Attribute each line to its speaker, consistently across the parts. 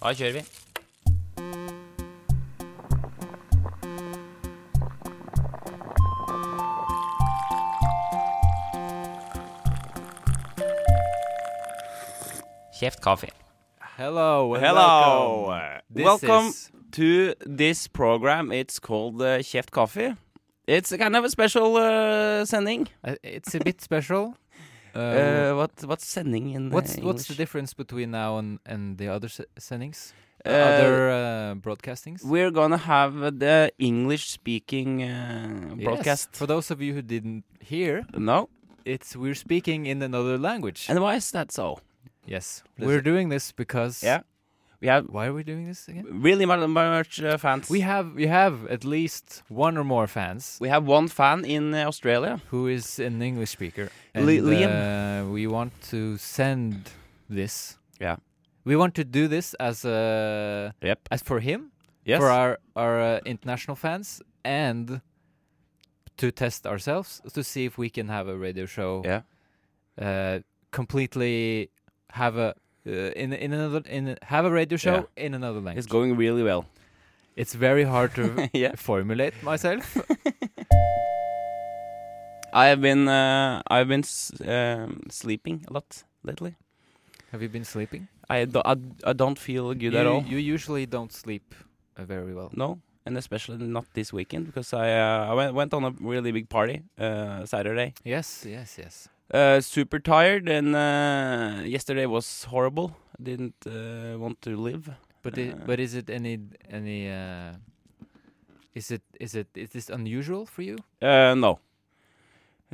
Speaker 1: Da kjører vi. Kjeft kaffe.
Speaker 2: Hello. and
Speaker 3: Hello.
Speaker 2: Welcome. This
Speaker 3: Welcome
Speaker 2: is-
Speaker 3: to this program. It's called uh, Kjeft Coffee. It's a kind of a special uh, sending.
Speaker 2: Uh, It's a bit special. Um,
Speaker 3: Uh, what what's sending in uh,
Speaker 2: what's what's the
Speaker 3: English?
Speaker 2: difference between now and, and the other se- sendings? The
Speaker 3: Uh,
Speaker 2: other uh, broadcastings?
Speaker 3: We're gonna have the English speaking uh,
Speaker 2: Yes.
Speaker 3: broadcast.
Speaker 2: For those of you who didn't hear,
Speaker 3: No.
Speaker 2: it's we're speaking in another language.
Speaker 3: And why is that so?
Speaker 2: yes.
Speaker 3: Does
Speaker 2: We're
Speaker 3: it-
Speaker 2: doing this because
Speaker 3: Yeah. We have
Speaker 2: why are we doing this again?
Speaker 3: really much, much uh, fans.
Speaker 2: We have we have at least one or more fans
Speaker 3: we have one fan in uh, Australia.
Speaker 2: who is an English speaker.
Speaker 3: Li-
Speaker 2: Uh, we want to send this.
Speaker 3: Yeah.
Speaker 2: We want to do this as a
Speaker 3: Yep.
Speaker 2: as for him,
Speaker 3: Yes.
Speaker 2: for our our uh, international fans, and to test ourselves to see if we can have a radio show.
Speaker 3: Yeah.
Speaker 2: Uh, completely have a uh, in in another in have a radio show in another language.
Speaker 3: It's going really well.
Speaker 2: It's very hard to
Speaker 3: yeah.
Speaker 2: formulate myself.
Speaker 3: I have been uh, I've been s- um, sleeping a lot lately.
Speaker 2: Have you been sleeping?
Speaker 3: I, do, I, I don't feel good at all.
Speaker 2: You, you usually don't sleep uh, very well.
Speaker 3: No, and especially not this weekend because I uh, I went, went on a really big party uh, Saturday.
Speaker 2: Yes, yes, yes.
Speaker 3: Uh, super tired, and uh, yesterday was horrible. Didn't uh, want to live.
Speaker 2: But i-
Speaker 3: Uh,
Speaker 2: but is it any any uh, is it is it is this unusual for you?
Speaker 3: Uh, no.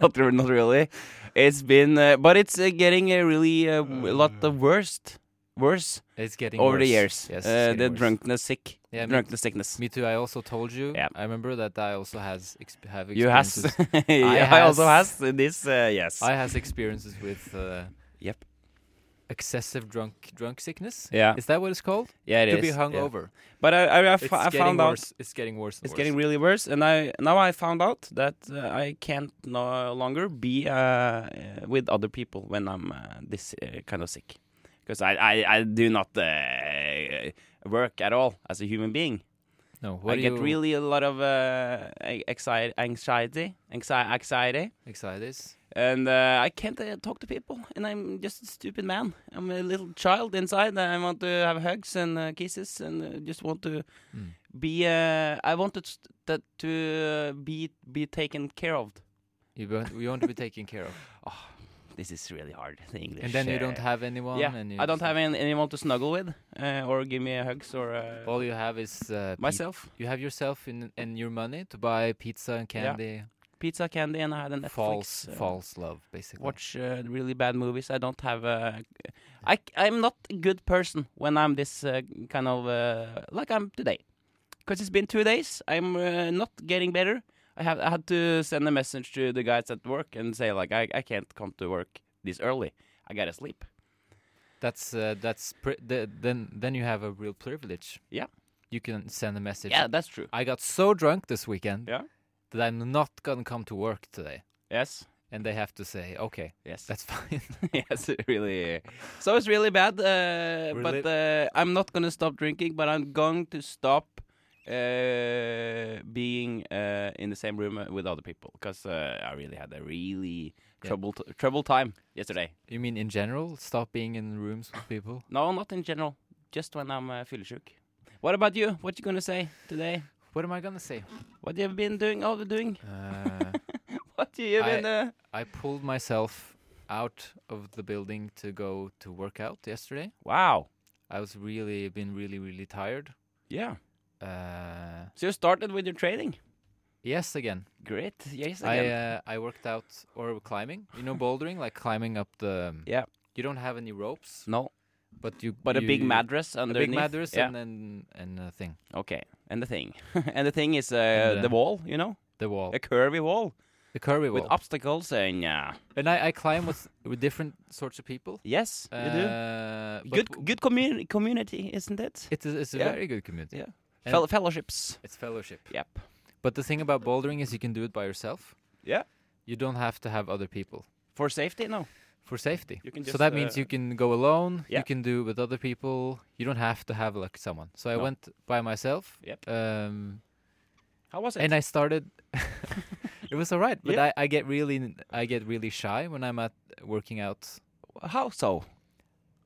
Speaker 3: not re- not really. It's been, uh, but it's uh, getting uh, really uh, w- a lot of worst, worse
Speaker 2: It's getting
Speaker 3: over the
Speaker 2: Mm. worse.
Speaker 3: years.
Speaker 2: Yes, it's
Speaker 3: uh,
Speaker 2: getting
Speaker 3: the
Speaker 2: worse.
Speaker 3: drunkenness, sick,
Speaker 2: Yeah, me-
Speaker 3: drunkenness, sickness.
Speaker 2: Me too. I also told you.
Speaker 3: Yeah.
Speaker 2: I remember that I also has exp- have
Speaker 3: You has,
Speaker 2: experiences.
Speaker 3: I, also has
Speaker 2: has- eh,
Speaker 3: this. Uh, yes.
Speaker 2: I has experiences with uh,
Speaker 3: Yep.
Speaker 2: excessive drunk drunk sickness.
Speaker 3: yeah.
Speaker 2: Is that what it's called?
Speaker 3: Yeah, it is.
Speaker 2: to be hung
Speaker 3: yeah.
Speaker 2: over.
Speaker 3: But I, I, I,
Speaker 2: It's
Speaker 3: fa- I
Speaker 2: getting
Speaker 3: found out
Speaker 2: worse. It's getting worse. And
Speaker 3: it's
Speaker 2: worse.
Speaker 3: getting really worse, and I now I found out that uh, I can't no longer be uh, uh, with other people when I'm uh, this uh, kind of sick, because I, I I do not uh, work at all as a human being.
Speaker 2: no. What
Speaker 3: I
Speaker 2: are
Speaker 3: get
Speaker 2: you
Speaker 3: really a lot of uh, anxiety, anxiety, anxi- anxiety,
Speaker 2: excited?
Speaker 3: and uh, I can't uh, talk to people. And I'm just a stupid man. I'm a little child inside. And I want to have hugs and uh, kisses, and uh, just want to
Speaker 2: Mm.
Speaker 3: be. Uh, I wanted st- that to uh, be be taken care of.
Speaker 2: You want, you want to be taken care of,
Speaker 3: This is really hard. The English.
Speaker 2: and then you don't
Speaker 3: uh,
Speaker 2: have anyone.
Speaker 3: Yeah,
Speaker 2: and you
Speaker 3: I don't
Speaker 2: just-
Speaker 3: have an- anyone to snuggle with, uh, or give me hugs, or uh,
Speaker 2: All you have is uh, pe-
Speaker 3: myself.
Speaker 2: You have yourself in, and your money to buy pizza and candy.
Speaker 3: Pizza, candy, and I had a Netflix.
Speaker 2: false,
Speaker 3: uh,
Speaker 2: false love, basically.
Speaker 3: Watch uh, really bad movies. I don't have a. I I'm not a good person when I'm this uh, kind of uh, like I'm today, because it's been two days. I'm uh, not getting better. I have I had to send a message to the guys at work and say like I I can't come to work this early. I gotta sleep.
Speaker 2: That's uh, that's pre- the, then then you have a real privilege.
Speaker 3: Yeah.
Speaker 2: You can send a message.
Speaker 3: Yeah, that's true.
Speaker 2: I got so drunk this weekend
Speaker 3: Yeah.
Speaker 2: that I'm not gonna come to work today,
Speaker 3: Yes.
Speaker 2: and they have to say, "Okay,
Speaker 3: Yes.
Speaker 2: that's fine."
Speaker 3: yes. it Really. So it's really bad. Uh,
Speaker 2: Really?
Speaker 3: But uh, I'm not gonna stop drinking. But I'm going to stop uh, being uh, in the same room uh, with other people because uh, I really had a really
Speaker 2: Yeah.
Speaker 3: trouble t- trouble time yesterday.
Speaker 2: you mean in general, stop being in rooms with people?
Speaker 3: No, not in general. Just when I'm uh, fyllesyk. What about you? What you gonna say today?
Speaker 2: What am I gonna say?
Speaker 3: What you have been doing? Oh, doing?
Speaker 2: Uh,
Speaker 3: What you
Speaker 2: I-
Speaker 3: been? uh,
Speaker 2: I pulled myself out of the building to go to work out yesterday.
Speaker 3: wow.
Speaker 2: I was really been really really tired.
Speaker 3: Yeah.
Speaker 2: Uh,
Speaker 3: So you started with your training.
Speaker 2: yes, again.
Speaker 3: Great. Yes.
Speaker 2: I
Speaker 3: Again.
Speaker 2: uh, I worked out or climbing. You know bouldering, like climbing up the.
Speaker 3: Yeah.
Speaker 2: You don't have any ropes,
Speaker 3: no,
Speaker 2: but you.
Speaker 3: but a
Speaker 2: you-
Speaker 3: big madras
Speaker 2: a
Speaker 3: underneath.
Speaker 2: big mattress
Speaker 3: Yeah.
Speaker 2: and and and a thing.
Speaker 3: Okay, and the thing, and the thing is uh,
Speaker 2: And,
Speaker 3: the
Speaker 2: uh,
Speaker 3: wall, you know,
Speaker 2: The wall,
Speaker 3: a curvy wall
Speaker 2: the curvy wall.
Speaker 3: with obstacles and uh,
Speaker 2: and I, I climb with with different sorts of people.
Speaker 3: yes, you
Speaker 2: Uh,
Speaker 3: do.
Speaker 2: but
Speaker 3: Good,
Speaker 2: w-
Speaker 3: good community, community, isn't it?
Speaker 2: It's a, it's a
Speaker 3: Yeah.
Speaker 2: very good community.
Speaker 3: Yeah.
Speaker 2: and-
Speaker 3: Fel- fellowships.
Speaker 2: It's fellowship.
Speaker 3: Yep.
Speaker 2: But the thing about bouldering is you can do it by yourself.
Speaker 3: Yeah.
Speaker 2: You don't have to have other people.
Speaker 3: For safety, no.
Speaker 2: for safety.
Speaker 3: You can
Speaker 2: so
Speaker 3: just,
Speaker 2: that means you
Speaker 3: uh,
Speaker 2: can go alone.
Speaker 3: yeah.
Speaker 2: You can do with other people. You don't have to have like someone. So I
Speaker 3: No.
Speaker 2: went by myself.
Speaker 3: Yep.
Speaker 2: Um,
Speaker 3: How was it?
Speaker 2: and I started. it was all right, but
Speaker 3: Yeah.
Speaker 2: I, I get really n- I get really shy when I'm at working out.
Speaker 3: How so?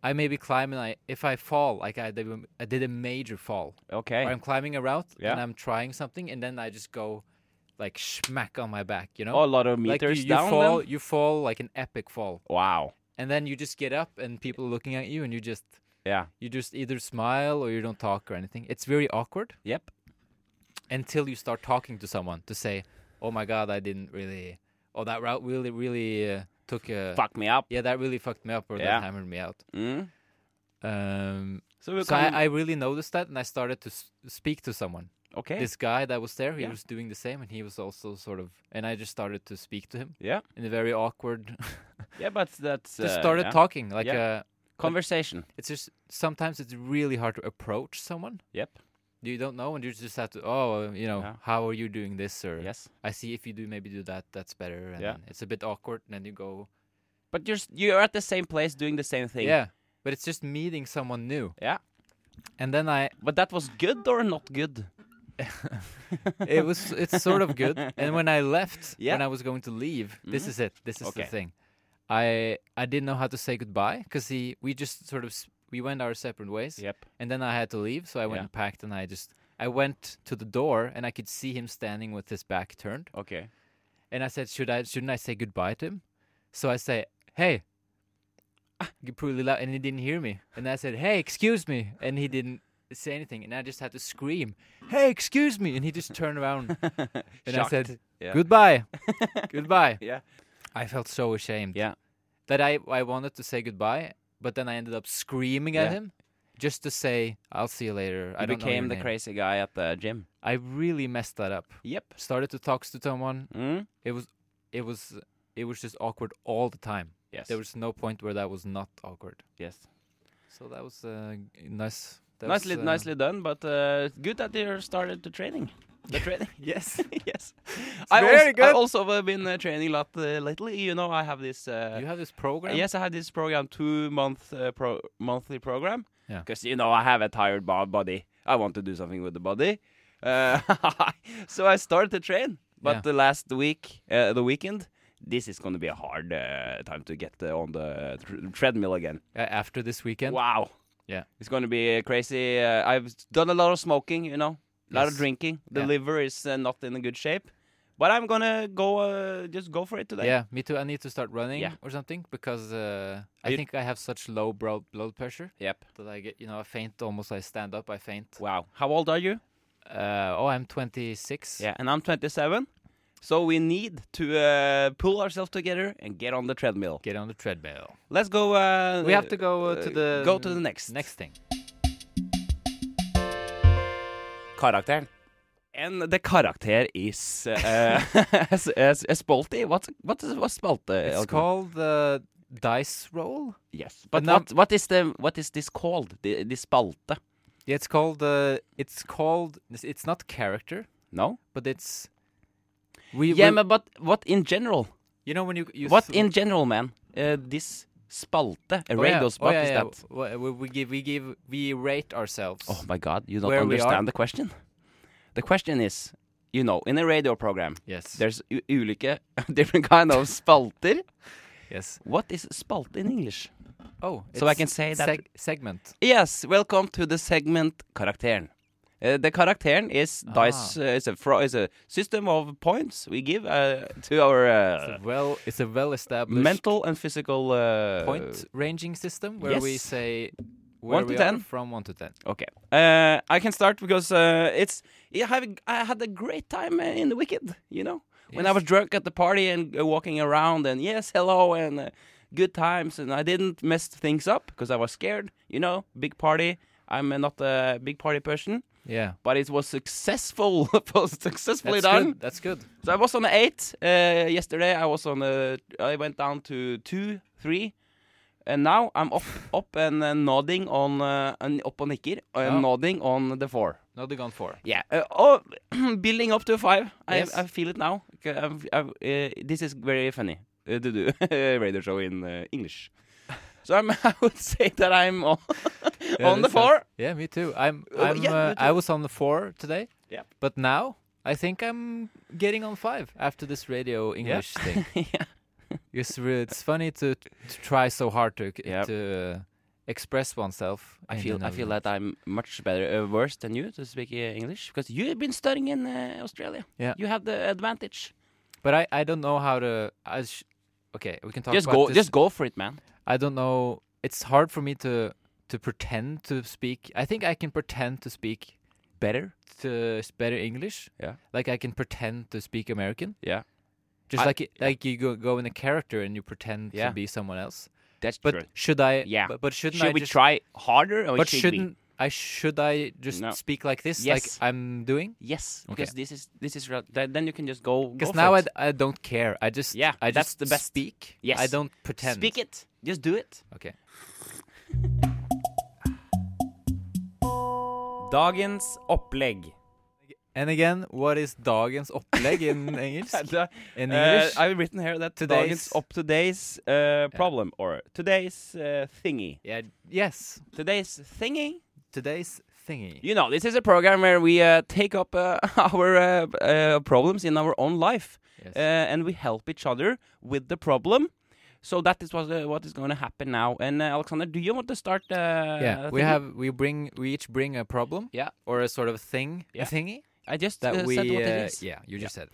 Speaker 2: I maybe climb and I if I fall like I did, a- I did a major fall.
Speaker 3: Okay.
Speaker 2: Or I'm climbing a route
Speaker 3: Yeah.
Speaker 2: and I'm trying something and then I just go like smack on my back, you know.
Speaker 3: Oh, a lot of
Speaker 2: like you,
Speaker 3: meters
Speaker 2: you
Speaker 3: down.
Speaker 2: fall,
Speaker 3: then?
Speaker 2: you fall like an epic fall,
Speaker 3: Wow.
Speaker 2: and then you just get up and people are looking at you and you just
Speaker 3: Yeah.
Speaker 2: you just either smile or you don't talk or anything. It's very awkward
Speaker 3: Yep.
Speaker 2: until you start talking to someone to say, "Oh my god, I didn't really. Oh, that route really, really uh, took a.
Speaker 3: Fuck me up.
Speaker 2: Yeah, that really fucked me up or
Speaker 3: Yeah.
Speaker 2: that hammered me out."
Speaker 3: Mm.
Speaker 2: Um,
Speaker 3: So we
Speaker 2: so I, I really noticed that, and I started to s- speak to someone.
Speaker 3: okay.
Speaker 2: This guy that was there, he
Speaker 3: Yeah.
Speaker 2: was doing the same, and he was also sort of. And I just started to speak to him
Speaker 3: yeah.
Speaker 2: in a very awkward.
Speaker 3: Yeah, but that's
Speaker 2: just
Speaker 3: uh,
Speaker 2: started uh,
Speaker 3: yeah.
Speaker 2: talking like
Speaker 3: Yeah.
Speaker 2: uh,
Speaker 3: conversation.
Speaker 2: it's just sometimes it's really hard to approach someone.
Speaker 3: Yep.
Speaker 2: You don't know, and you just have to. Oh, you know,
Speaker 3: Yeah.
Speaker 2: how are you doing this, or
Speaker 3: Yes.
Speaker 2: I see if you do maybe do that, that's better. And
Speaker 3: Yeah.
Speaker 2: then it's a bit awkward, and then you go,
Speaker 3: But you're s- you're at the same place doing the same thing.
Speaker 2: yeah. But it's just meeting someone new.
Speaker 3: Yeah.
Speaker 2: And then I,
Speaker 3: But that was good or not good?
Speaker 2: it was, it's sort of good. And when I left,
Speaker 3: Yeah.
Speaker 2: when I was going to leave, this
Speaker 3: Mhm.
Speaker 2: is it. This is
Speaker 3: Okay.
Speaker 2: the thing. I, I didn't know how to say goodbye because he, we just sort of, s- we went our separate ways.
Speaker 3: Yep.
Speaker 2: And then I had to leave, so I went
Speaker 3: Yeah.
Speaker 2: and packed, and I just, I went to the door, and I could see him standing with his back turned.
Speaker 3: Okay.
Speaker 2: and I said, "Should I? Shouldn't I say goodbye to him?" So I say, "Hey," g- pretty loud, and he didn't hear me. And I said, "Hey, excuse me," and he didn't say anything. And I just had to scream, "Hey, excuse me!" And he just turned around, and I said,
Speaker 3: Yeah.
Speaker 2: "Goodbye, goodbye."
Speaker 3: Yeah.
Speaker 2: I felt so ashamed
Speaker 3: Yeah.
Speaker 2: that I I wanted to say goodbye, but then I ended up screaming at
Speaker 3: Yeah.
Speaker 2: him just to say, "I'll see you later." I
Speaker 3: You
Speaker 2: don't know your
Speaker 3: became the
Speaker 2: name."
Speaker 3: crazy guy at the gym.
Speaker 2: I really messed that up.
Speaker 3: Yep.
Speaker 2: Started to talk to someone.
Speaker 3: Mm.
Speaker 2: It was it was it was just awkward all the time.
Speaker 3: Yes.
Speaker 2: There was no point where that was not awkward.
Speaker 3: yes.
Speaker 2: So that was uh, g- nice. That
Speaker 3: Nicely,
Speaker 2: was, uh,
Speaker 3: nicely done. But uh, good that you started the training. The training.
Speaker 2: Yes.
Speaker 3: yes.
Speaker 2: very
Speaker 3: also,
Speaker 2: good.
Speaker 3: I've also uh, been uh, training a lot uh, lately. You know, I have this. Uh,
Speaker 2: you have this program.
Speaker 3: Yes, I have this program, two month uh, pro- monthly program.
Speaker 2: Yeah.
Speaker 3: Because you know I have a tired bo- body. I want to do something with the body. Uh, so I started to train, but
Speaker 2: Yeah.
Speaker 3: the last week, uh, the weekend, this is going to be a hard uh, time to get uh, on the tr- treadmill again.
Speaker 2: Uh, after this weekend.
Speaker 3: Wow.
Speaker 2: Yeah.
Speaker 3: It's going to be uh, crazy. Uh, I've done a lot of smoking, you know, a lot of
Speaker 2: Yes.
Speaker 3: drinking. The
Speaker 2: Yeah.
Speaker 3: liver is uh, not in a good shape, but I'm going to go uh, just go for it today.
Speaker 2: Yeah, me too. I need to start running
Speaker 3: Yeah.
Speaker 2: or something because uh, I
Speaker 3: You-
Speaker 2: think I have such low bro- blood pressure
Speaker 3: Yep.
Speaker 2: that I get, you know, I faint almost. I stand up, I faint.
Speaker 3: Wow. How old are you?
Speaker 2: Uh, oh, I'm 26.
Speaker 3: Yeah, and I'm 27. So we need to uh, pull ourselves together and get on the treadmill.
Speaker 2: Get on the treadmill.
Speaker 3: Let's go. Uh,
Speaker 2: We have to go uh, to the
Speaker 3: go to the next uh,
Speaker 2: next thing.
Speaker 3: karakteren. And the karakter is uh, as- as- as spalte. What's what is what's spalte?
Speaker 2: It's
Speaker 3: Elke?
Speaker 2: called the dice roll.
Speaker 3: yes. But
Speaker 2: now-
Speaker 3: what what is the what is this called? The, the spalte?
Speaker 2: Yeah, it's called. Uh, it's called. it's- It's not character,
Speaker 3: No.
Speaker 2: but it's. We
Speaker 3: Yeah,
Speaker 2: we-
Speaker 3: men, but what in general?
Speaker 2: you know when you you
Speaker 3: What
Speaker 2: th-
Speaker 3: in general, man? Uh, this spalte, a
Speaker 2: oh, yeah.
Speaker 3: radios.
Speaker 2: oh,
Speaker 3: What
Speaker 2: yeah,
Speaker 3: is
Speaker 2: yeah.
Speaker 3: that?
Speaker 2: W- We, we give we give we rate ourselves.
Speaker 3: Oh my god, you don't
Speaker 2: Where we are?
Speaker 3: understand the question. The question is, you know, in a radio program,
Speaker 2: yes,
Speaker 3: there's u- ulike different kind of spalter.
Speaker 2: yes.
Speaker 3: What is spalt in English?
Speaker 2: Oh,
Speaker 3: So I
Speaker 2: it's
Speaker 3: can say that-
Speaker 2: seg- segment.
Speaker 3: Yes, welcome to the segment karakteren. Uh, the karakteren is dice. Uh, it's a fro- is a system of points we give uh, to our
Speaker 2: It's a
Speaker 3: uh,
Speaker 2: well, it's a well-established
Speaker 3: mental and physical uh,
Speaker 2: point ranging system where we
Speaker 3: yes.
Speaker 2: say where
Speaker 3: to
Speaker 2: we are
Speaker 3: 10.
Speaker 2: from one to ten.
Speaker 3: Okay, uh, I can start because uh, it's I have I had a great time uh, in the Wicked. You know, when I
Speaker 2: Yes.
Speaker 3: was drunk at the party and uh, walking around and yes, hello and uh, good times and I didn't mess things up because I was scared. You know, big party. I'm uh, not a big party person,
Speaker 2: Yeah,
Speaker 3: but it was successful. it was successfully
Speaker 2: that's
Speaker 3: done.
Speaker 2: good. That's good.
Speaker 3: So I was on a eight uh, yesterday. I was on a. I went down to two, three, and now I'm up, up and uh, nodding on uh, and up on nikker and
Speaker 2: Ja.
Speaker 3: nodding on the four.
Speaker 2: Now they're gone four.
Speaker 3: Yeah. Uh, oh, building up to a five.
Speaker 2: Yes.
Speaker 3: I, I feel it now. Okay, I've, I've, uh, this is very funny. uh, to do a radio show in uh, English. So I'm, I would say that I'm on,
Speaker 2: Yeah,
Speaker 3: on the
Speaker 2: that sounds-
Speaker 3: floor.
Speaker 2: Yeah, me too. I'm.
Speaker 3: Oh,
Speaker 2: I'm.
Speaker 3: yeah,
Speaker 2: uh,
Speaker 3: me
Speaker 2: I
Speaker 3: too.
Speaker 2: was on the four today.
Speaker 3: Yeah.
Speaker 2: But now I think I'm getting on five after this radio English thing.
Speaker 3: yeah.
Speaker 2: It's re- it's funny to, to try so hard to
Speaker 3: Yeah.
Speaker 2: to uh, express oneself.
Speaker 3: I
Speaker 2: in
Speaker 3: feel
Speaker 2: the
Speaker 3: I feel
Speaker 2: Netherlands.
Speaker 3: that I'm much better uh, worse than you to speak uh, English because you've been studying in uh, Australia.
Speaker 2: Yeah.
Speaker 3: you have the advantage.
Speaker 2: But I I don't know how to. I sh- okay, we can talk.
Speaker 3: just
Speaker 2: about
Speaker 3: go,
Speaker 2: this.
Speaker 3: just go for it, man.
Speaker 2: I don't know. It's hard for me to to pretend to speak. I think I can pretend to speak better to s- better English.
Speaker 3: Yeah.
Speaker 2: Like I can pretend to speak American.
Speaker 3: Yeah.
Speaker 2: Just
Speaker 3: I-
Speaker 2: like it, like you go go in a character and you pretend
Speaker 3: Yeah.
Speaker 2: to be someone else.
Speaker 3: That's
Speaker 2: But
Speaker 3: true.
Speaker 2: should I?
Speaker 3: Yeah.
Speaker 2: But, but shouldn't
Speaker 3: Should
Speaker 2: I
Speaker 3: we
Speaker 2: just?
Speaker 3: try harder? Or
Speaker 2: but
Speaker 3: should we?
Speaker 2: shouldn't I? Should I just
Speaker 3: No.
Speaker 2: speak like this?
Speaker 3: Yes.
Speaker 2: Like I'm doing?
Speaker 3: Yes,
Speaker 2: Okay.
Speaker 3: because this is this is real- th- then you can just go. go
Speaker 2: Because
Speaker 3: for
Speaker 2: now I,
Speaker 3: it.
Speaker 2: d- I don't care. I just
Speaker 3: Yeah,
Speaker 2: I
Speaker 3: that's
Speaker 2: just
Speaker 3: the best.
Speaker 2: speak. I
Speaker 3: Yes.
Speaker 2: don't pretend.
Speaker 3: speak it. Just do it.
Speaker 2: Okay.
Speaker 1: Dagens opplegg.
Speaker 2: And again, what is dagens opplegg in English? In
Speaker 3: Uh,
Speaker 2: English?
Speaker 3: I've written here that
Speaker 2: Today's-
Speaker 3: today's up today's uh, problem or today's uh, thingy.
Speaker 2: yeah. Yes.
Speaker 3: Today's thingy.
Speaker 2: Today's thingy.
Speaker 3: You know, this is a program where we uh, take up uh, our uh, uh, problems in our own life,
Speaker 2: Yes.
Speaker 3: uh, and we help each other with the problem. So that is what uh, what is going to happen now. And uh, Alexander, do you want to start? Uh,
Speaker 2: yeah.
Speaker 3: yeah,
Speaker 2: We have we bring we each bring a problem.
Speaker 3: Yeah.
Speaker 2: Or a sort of thing.
Speaker 3: Yeah.
Speaker 2: A thingy
Speaker 3: I just
Speaker 2: that
Speaker 3: uh,
Speaker 2: we.
Speaker 3: said what it
Speaker 2: uh,
Speaker 3: is.
Speaker 2: yeah. You
Speaker 3: Yeah.
Speaker 2: just said.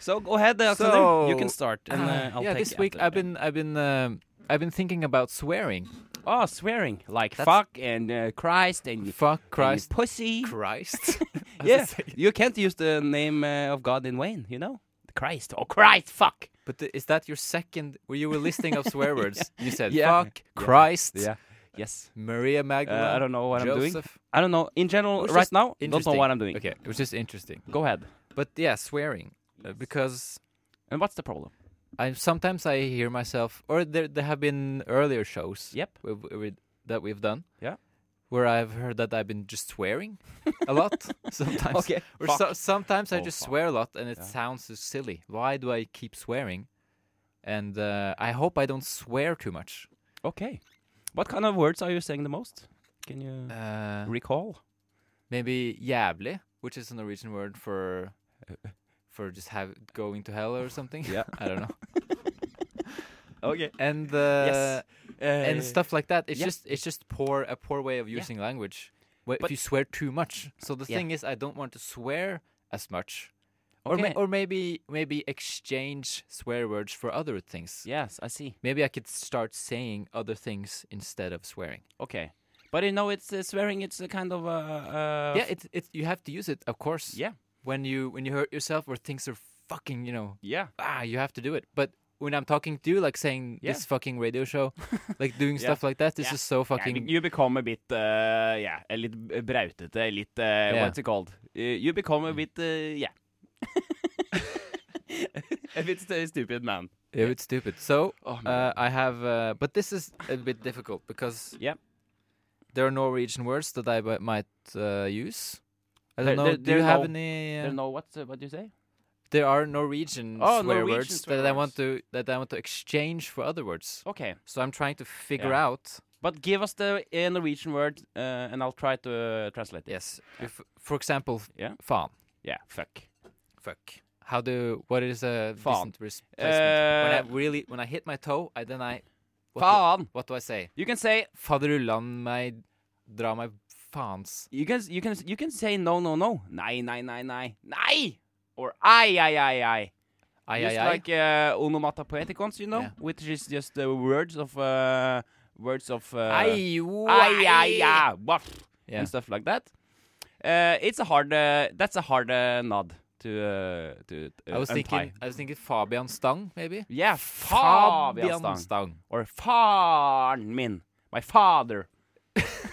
Speaker 3: So go ahead, Alexander. you
Speaker 2: So,
Speaker 3: can start, and uh, I'll
Speaker 2: yeah.
Speaker 3: take
Speaker 2: This
Speaker 3: it
Speaker 2: week
Speaker 3: after.
Speaker 2: I've been I've been um, I've been thinking about swearing.
Speaker 3: oh swearing like
Speaker 2: That's-
Speaker 3: fuck and uh, Christ and
Speaker 2: Fuck
Speaker 3: Christ
Speaker 2: Christ.
Speaker 3: pussy.
Speaker 2: Christ. As I
Speaker 3: yeah,
Speaker 2: say.
Speaker 3: you can't use the name uh, of God in vain. You know, Christ. Oh Christ, fuck.
Speaker 2: But th- is that your second? Where you were listing of swear words? You said
Speaker 3: Yeah.
Speaker 2: fuck Christ.
Speaker 3: Yes.
Speaker 2: Maria
Speaker 3: Uh,
Speaker 2: Magdalene.
Speaker 3: I don't know what I'm doing.
Speaker 2: Joseph.
Speaker 3: I don't know. In general,
Speaker 2: Which
Speaker 3: right
Speaker 2: is
Speaker 3: now, don't know
Speaker 2: interesting.
Speaker 3: what I'm doing.
Speaker 2: Okay, it was just interesting.
Speaker 3: Go ahead.
Speaker 2: But yeah, swearing uh, because
Speaker 3: And what's the problem?
Speaker 2: I sometimes I hear myself, or there there have been earlier shows
Speaker 3: Yep.
Speaker 2: we- we- we- that we've done,
Speaker 3: Yeah.
Speaker 2: where I've heard that I've been just swearing a lot sometimes,
Speaker 3: Okay.
Speaker 2: or
Speaker 3: fuck.
Speaker 2: so, sometimes I
Speaker 3: Oh,
Speaker 2: just
Speaker 3: fuck.
Speaker 2: swear a lot, and it
Speaker 3: Yeah.
Speaker 2: sounds so silly. Why do I keep swearing? And uh, I hope I don't swear too much.
Speaker 3: Okay. What kind of words are you saying the most? Can you Mm.
Speaker 2: Uh,
Speaker 3: recall?
Speaker 2: maybe jävlig, which is a Norwegian word for for just have going to hell or something.
Speaker 3: Yeah.
Speaker 2: I don't know.
Speaker 3: Okay. Uh,
Speaker 2: and uh, and stuff like that. It's
Speaker 3: yeah.
Speaker 2: just it's just poor a poor way of
Speaker 3: Yeah.
Speaker 2: using language. Where if
Speaker 3: But-
Speaker 2: you swear too much. So the
Speaker 3: Yeah.
Speaker 2: thing is, I don't want to swear as much, or
Speaker 3: Okay.
Speaker 2: ma- or maybe maybe exchange swear words for other things.
Speaker 3: yes, I see.
Speaker 2: Maybe I could start saying other things instead of swearing.
Speaker 3: Okay. But you know, it's uh, swearing. It's a kind of uh, uh,
Speaker 2: yeah, it's it's you have to use it, of course.
Speaker 3: Yeah.
Speaker 2: When you when you hurt yourself or things are fucking, you know,
Speaker 3: yeah.
Speaker 2: ah, you have to do it. But when I'm talking to you, like saying
Speaker 3: Yeah.
Speaker 2: this fucking radio show, like doing
Speaker 3: Yeah.
Speaker 2: stuff like that, this
Speaker 3: Yeah.
Speaker 2: is so
Speaker 3: Yeah,
Speaker 2: fucking
Speaker 3: you become a bit, uh, yeah, a litt brautete, litt, uh, what's it called? Uh, you become a bit, uh, yeah. a bit st- stupid man.
Speaker 2: yeah, it's stupid. So
Speaker 3: Oh,
Speaker 2: Uh, I have, uh, but this is a bit difficult because
Speaker 3: Yep.
Speaker 2: there are Norwegian words that I b- might uh, use. I don't
Speaker 3: There-
Speaker 2: know.
Speaker 3: there-
Speaker 2: Do
Speaker 3: there
Speaker 2: you
Speaker 3: are
Speaker 2: have
Speaker 3: no-
Speaker 2: any? Uh,
Speaker 3: don't know what's uh, what do you say?
Speaker 2: there are Norwegian
Speaker 3: Oh,
Speaker 2: swear
Speaker 3: Norwegian
Speaker 2: words
Speaker 3: swear
Speaker 2: that I
Speaker 3: words.
Speaker 2: want to that I want to exchange for other words.
Speaker 3: Okay,
Speaker 2: So I'm trying to figure
Speaker 3: Yeah.
Speaker 2: out.
Speaker 3: but give us the uh, Norwegian word, uh, and I'll try to uh, translate it.
Speaker 2: Yes. If, for example, f-
Speaker 3: Yeah.
Speaker 2: fan,
Speaker 3: Yeah, fuck.
Speaker 2: fuck. How do what is
Speaker 3: Fan.
Speaker 2: a decent res- placement?
Speaker 3: Uh,
Speaker 2: when I really when I hit my toe, I then I what do,
Speaker 3: Faen.
Speaker 2: what do I say?
Speaker 3: You can say
Speaker 2: Faderullan meg dra meg fans.
Speaker 3: you can you can you can say no no no nei nei nei nei nei or ai ai ai ai.
Speaker 2: Ai,
Speaker 3: just
Speaker 2: ai, ai.
Speaker 3: like uh, onomatopoeticons, you know,
Speaker 2: Yeah.
Speaker 3: which is just the words of uh, words of uh,
Speaker 2: Ai,
Speaker 3: ai,
Speaker 2: wai.
Speaker 3: ai, ai, waff,
Speaker 2: Yeah.
Speaker 3: and stuff like that. Uh, it's a hard. Uh, that's a hard uh, nod to uh, to. Uh,
Speaker 2: I was
Speaker 3: untie.
Speaker 2: thinking, I was thinking Fabian Stang, maybe.
Speaker 3: Yeah, Fabian Stang.
Speaker 2: Stang.
Speaker 3: or faren min, my father.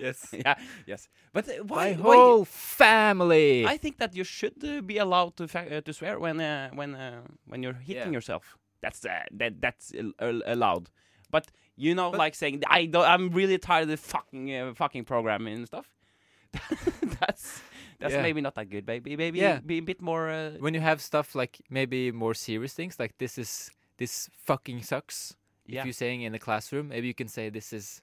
Speaker 2: yes.
Speaker 3: yeah, yes. But uh,
Speaker 2: My
Speaker 3: why? why
Speaker 2: whole family.
Speaker 3: I think that you should uh, be allowed to fa- uh, to swear when uh, when uh, when you're hitting
Speaker 2: Yeah.
Speaker 3: yourself. That's uh, that that's al- al- allowed. But you know,
Speaker 2: But-
Speaker 3: like saying I don't, I'm really tired of the fucking uh, fucking programming and stuff. that's that's
Speaker 2: Yeah.
Speaker 3: maybe not that good, baby. Maybe
Speaker 2: Yeah.
Speaker 3: be a bit more. Uh,
Speaker 2: when you have stuff like maybe more serious things, like this is this fucking sucks.
Speaker 3: Yeah.
Speaker 2: If you're saying in the classroom, maybe you can say this is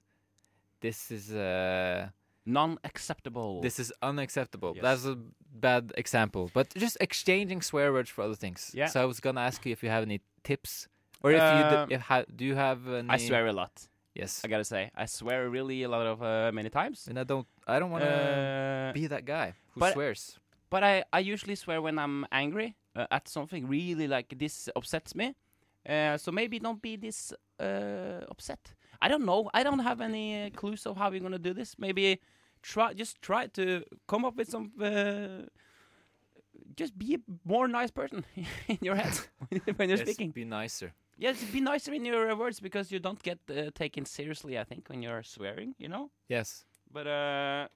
Speaker 2: this is uh
Speaker 3: Non-acceptable.
Speaker 2: this is unacceptable.
Speaker 3: Yes.
Speaker 2: That's a bad example. But just exchanging swear words for other things.
Speaker 3: Yeah.
Speaker 2: So I was gonna ask you if you have any tips, or if you
Speaker 3: Um,
Speaker 2: do, if ha- do you have any?
Speaker 3: I swear a lot.
Speaker 2: Yes.
Speaker 3: I gotta say, I swear really a lot of uh, many times.
Speaker 2: and I don't. I don't want to
Speaker 3: Uh,
Speaker 2: be that guy who
Speaker 3: but-
Speaker 2: swears.
Speaker 3: but I, I usually swear when I'm angry uh, at something really like this upsets me. Uh, so maybe don't be this uh, upset. I don't know. I don't have any uh, clues of how we're gonna do this. Maybe try just try to come up with some. Uh, just be a more nice person in your head when you're
Speaker 2: Yes,
Speaker 3: speaking.
Speaker 2: Be nicer.
Speaker 3: Yes, be nicer in your uh, words because you don't get uh, taken seriously. I think when you're swearing, you know.
Speaker 2: Yes.
Speaker 3: But uh,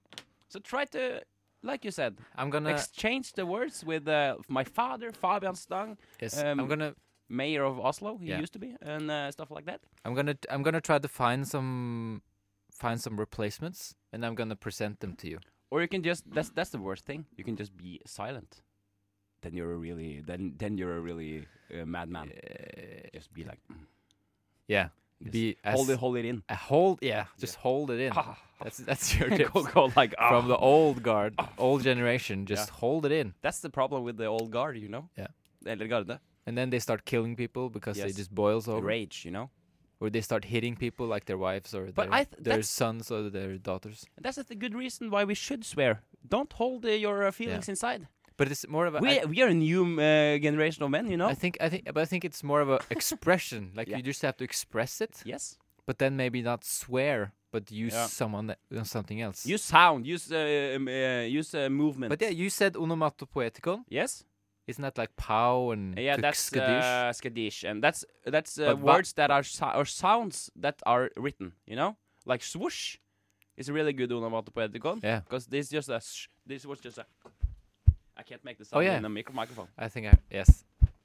Speaker 3: so try to, like you said,
Speaker 2: I'm gonna.
Speaker 3: exchange the words with uh, my father, Fabian Stang,
Speaker 2: yes.
Speaker 3: um,
Speaker 2: I'm gonna.
Speaker 3: mayor of Oslo. He
Speaker 2: Yeah.
Speaker 3: used to be, and uh, stuff like that.
Speaker 2: I'm gonna. I'm gonna try to find some, find some replacements, and I'm gonna present them to you.
Speaker 3: Or you can just that's that's the worst thing. You can just be silent. Then you're a really then then you're a really uh, madman.
Speaker 2: Uh,
Speaker 3: Just be like mm,
Speaker 2: yeah.
Speaker 3: Yes.
Speaker 2: Be as,
Speaker 3: hold it hold it in.
Speaker 2: a hold. Yeah. Just hold it in. That's that's your tip
Speaker 3: go, go like ah.
Speaker 2: from the old guard, old generation. Just hold it in,
Speaker 3: That's the problem with the old guard, you know.
Speaker 2: Yeah.
Speaker 3: Eller garde.
Speaker 2: and then they start killing people because they
Speaker 3: Yes.
Speaker 2: just boils over,
Speaker 3: Rage, you know.
Speaker 2: or they start hitting people like their wives or
Speaker 3: But
Speaker 2: their,
Speaker 3: I th-
Speaker 2: their
Speaker 3: that's-
Speaker 2: sons or their daughters.
Speaker 3: And that's a th- good reason why we should swear. Don't hold uh, your uh, feelings inside.
Speaker 2: But it's more of a. I-
Speaker 3: We we are a new uh, generation of men, you know.
Speaker 2: I think I think, but I think it's more of a expression. Like
Speaker 3: Yeah.
Speaker 2: you just have to express it,
Speaker 3: yes.
Speaker 2: but then maybe not swear, but use
Speaker 3: Yeah.
Speaker 2: someone that, uh, something else.
Speaker 3: Use sound. Use uh, um, uh, use uh, movement.
Speaker 2: but yeah, you said onomatopoeticon.
Speaker 3: Yes.
Speaker 2: Isn't that like pow and
Speaker 3: Yeah,
Speaker 2: kuk-
Speaker 3: that's
Speaker 2: skadoosh?
Speaker 3: uh, skadish, and that's that's uh,
Speaker 2: But va-
Speaker 3: words that are so- or sounds that are written. You know, like swoosh is a really good onomatopoeticon.
Speaker 2: Yeah.
Speaker 3: Because this just a sh- this was just a. I can't make the
Speaker 2: Oh,
Speaker 3: sound
Speaker 2: yeah.
Speaker 3: in a micro- microphone.
Speaker 2: I think I yes.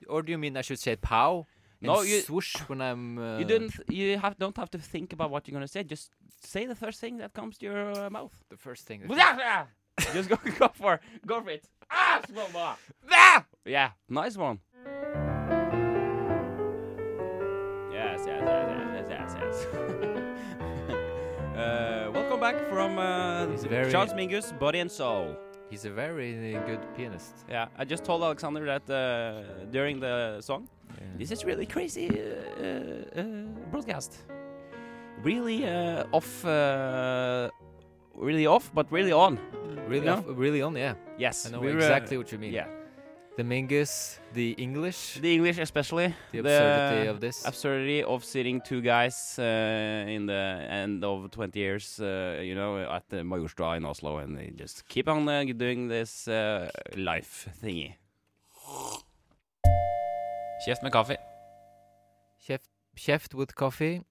Speaker 2: Or do you mean I should say pow? And
Speaker 3: No, you-
Speaker 2: swoosh when I'm. Uh,
Speaker 3: you didn't. You have don't have to think about what you're gonna say. Just say the first thing that comes to your uh, mouth.
Speaker 2: The first thing. That
Speaker 3: just go go for go for it. Ah, slow mo. Yeah, nice one. Yes, yes, yes, yes, yes, yes. yes. uh, welcome back from uh,
Speaker 2: He's very-
Speaker 3: Charles Mingus, Body and Soul.
Speaker 2: he's a very uh, good pianist.
Speaker 3: Yeah, I just told Alexander that uh, during the song. This is really crazy uh, uh, broadcast. Really uh, off, uh, really off, but really on.
Speaker 2: really,
Speaker 3: no?
Speaker 2: off- really on. Yeah,
Speaker 3: Yes,
Speaker 2: I know
Speaker 3: we were-
Speaker 2: exactly what you mean.
Speaker 3: Yeah,
Speaker 2: The Mingus, the English,
Speaker 3: the English especially.
Speaker 2: the absurdity of this.
Speaker 3: absurdity of sitting two guys uh, in the end of 20 years, uh, you know, at the Majorstua in Oslo, and they just keep on uh, doing this uh, life thingy. Kjeft med kaffe.
Speaker 2: Chef, chef with coffee.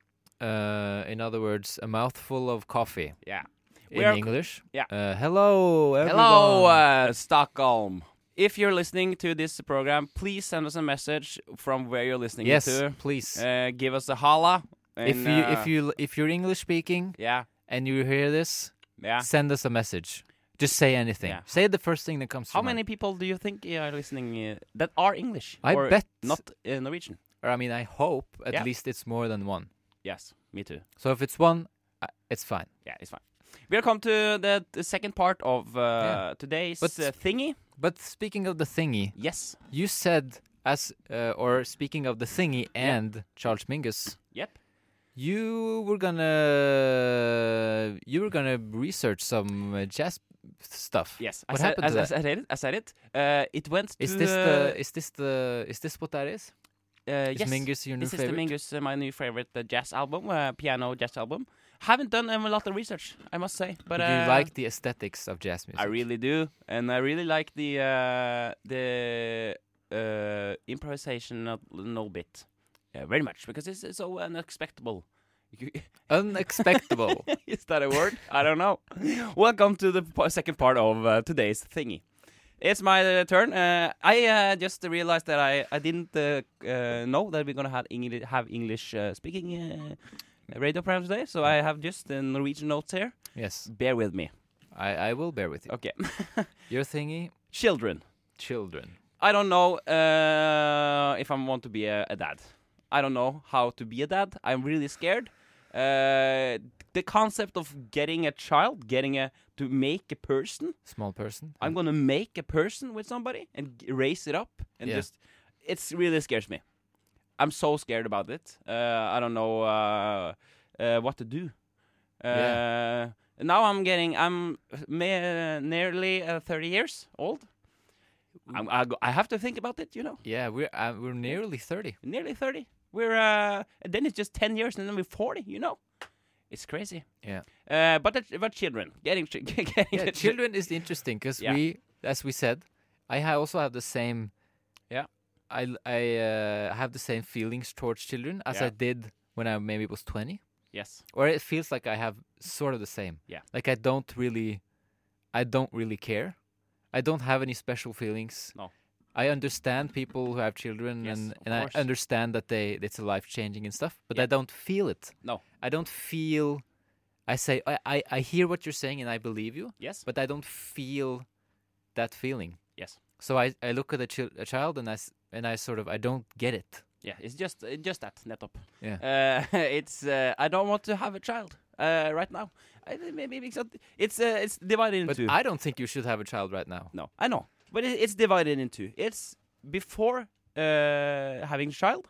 Speaker 2: Uh, in other words, a mouthful of coffee
Speaker 3: Yeah. We
Speaker 2: in
Speaker 3: are co-
Speaker 2: English.
Speaker 3: yeah.
Speaker 2: Uh, hello, everyone.
Speaker 3: Hello, uh, Stockholm. If you're listening to this program, please send us a message from where you're listening
Speaker 2: yes,
Speaker 3: to.
Speaker 2: please.
Speaker 3: Uh, give us a holla.
Speaker 2: if
Speaker 3: and,
Speaker 2: you
Speaker 3: uh,
Speaker 2: if you if you're English speaking
Speaker 3: yeah,
Speaker 2: and you hear this,
Speaker 3: yeah.
Speaker 2: send us a message. Just say anything.
Speaker 3: Yeah.
Speaker 2: Say the first thing that comes. to
Speaker 3: How
Speaker 2: your mind.
Speaker 3: many people do you think are listening uh, that are English?
Speaker 2: I
Speaker 3: or
Speaker 2: bet-
Speaker 3: not uh, Norwegian.
Speaker 2: Or I mean, I hope at
Speaker 3: Yeah.
Speaker 2: least it's more than one.
Speaker 3: Yes, me too.
Speaker 2: So if it's one, uh, it's fine.
Speaker 3: Yeah, it's fine. Welcome to the, the second part of uh,
Speaker 2: Yeah.
Speaker 3: today's
Speaker 2: But-
Speaker 3: uh, thingy.
Speaker 2: But speaking of the thingy,
Speaker 3: Yes.
Speaker 2: you said as uh, or speaking of the thingy and Charles Mingus,
Speaker 3: Yep.
Speaker 2: you were gonna you were gonna research some uh, jazz stuff.
Speaker 3: Yes.
Speaker 2: What
Speaker 3: I said,
Speaker 2: happened to
Speaker 3: I, I
Speaker 2: that?
Speaker 3: said it. I said it. Uh, it went
Speaker 2: Is
Speaker 3: to
Speaker 2: this the
Speaker 3: uh,
Speaker 2: is this the is this what that is?
Speaker 3: uh,
Speaker 2: Is
Speaker 3: yes.
Speaker 2: Mingus your new
Speaker 3: This is
Speaker 2: favorite?
Speaker 3: the Mingus, uh, my new favorite uh, jazz album, uh, piano jazz album. Haven't done um, a lot of research, I must say, but
Speaker 2: Do
Speaker 3: uh,
Speaker 2: you like the aesthetics of jazz music?
Speaker 3: I really do, and I really like the uh, the uh, improvisation of no bit uh, very much because it's, it's so unexpectable. You-
Speaker 2: unexpectable.
Speaker 3: is that a word? I don't know. Welcome to the po- second part of uh, today's thingy. It's my uh, turn. Uh, I uh, just realized that I, I didn't uh, uh, know that we're gonna have English have English uh, speaking uh, radio program today. So I have just the Norwegian notes here.
Speaker 2: yes,
Speaker 3: Bear with me.
Speaker 2: I I will bear with you.
Speaker 3: Okay,
Speaker 2: Your thingy,
Speaker 3: children.
Speaker 2: children.
Speaker 3: I don't know uh, if I want to be a, a dad. I don't know how to be a dad. I'm really scared. Uh, the concept of getting a child, getting a to make a person.
Speaker 2: Small person.
Speaker 3: I'm gonna make a person with somebody and g- raise it up and
Speaker 2: Yeah.
Speaker 3: just it's really scares me. I'm so scared about it. Uh, I don't know uh, uh, what to do. Uh, Now I'm getting I'm me- nearly uh, 30 years old.
Speaker 2: Mm.
Speaker 3: I'm, I, go- I have to think about it, you know.
Speaker 2: Yeah, we're uh, we're nearly thirty.
Speaker 3: Nearly 30. We're uh, and then it's just 10 years and then we're 40. You know, it's crazy.
Speaker 2: Yeah.
Speaker 3: Uh, but the, but children getting chi- getting
Speaker 2: Yeah,
Speaker 3: the chil-
Speaker 2: children is interesting because
Speaker 3: Yeah.
Speaker 2: we, as we said, I ha- also have the same.
Speaker 3: Yeah.
Speaker 2: I l- I uh, have the same feelings towards children as
Speaker 3: Yeah.
Speaker 2: I did when I maybe was twenty,
Speaker 3: Yes.
Speaker 2: or it feels like I have sort of the same.
Speaker 3: Yeah.
Speaker 2: Like I don't really, I don't really care. I don't have any special feelings.
Speaker 3: No.
Speaker 2: I understand people who have children
Speaker 3: Yes,
Speaker 2: and,
Speaker 3: of
Speaker 2: and I
Speaker 3: course.
Speaker 2: understand that they it's life changing and stuff, but
Speaker 3: Yeah.
Speaker 2: I don't feel it.
Speaker 3: No.
Speaker 2: I don't feel I say I, I, I hear what you're saying and I believe you,
Speaker 3: Yes.
Speaker 2: but I don't feel that feeling.
Speaker 3: Yes.
Speaker 2: So I, I look at a, chil- a child and I s- and I sort of I don't get it.
Speaker 3: Yeah, it's just it's just that nettopp. Uh, it's uh, I don't want to have a child uh, right now. I, thi- maybe it's not- it's uh, it's divided
Speaker 2: But
Speaker 3: into
Speaker 2: I don't think you should have a child right now.
Speaker 3: no, I know, but it, it's divided into it's before uh, having a child.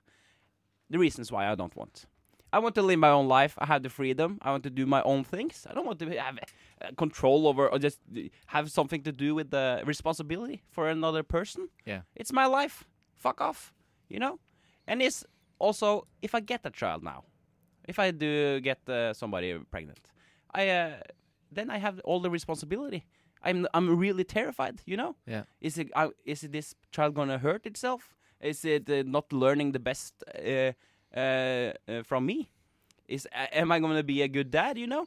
Speaker 3: The reasons why I don't want. I want to live my own life. I have the freedom. I want to do my own things. I don't want to have uh, control over or just uh, have something to do with the responsibility for another person.
Speaker 2: Yeah.
Speaker 3: It's my life. Fuck off. You know? And it's also if I get a child now, if I do get uh, somebody pregnant, I uh, then I have all the responsibility. I'm I'm really terrified, you know?
Speaker 2: Yeah.
Speaker 3: Is it I is it this child going to hurt itself? Is it uh, not learning the best uh, uh, uh, from me? Is a- am I going to be a good dad, you know?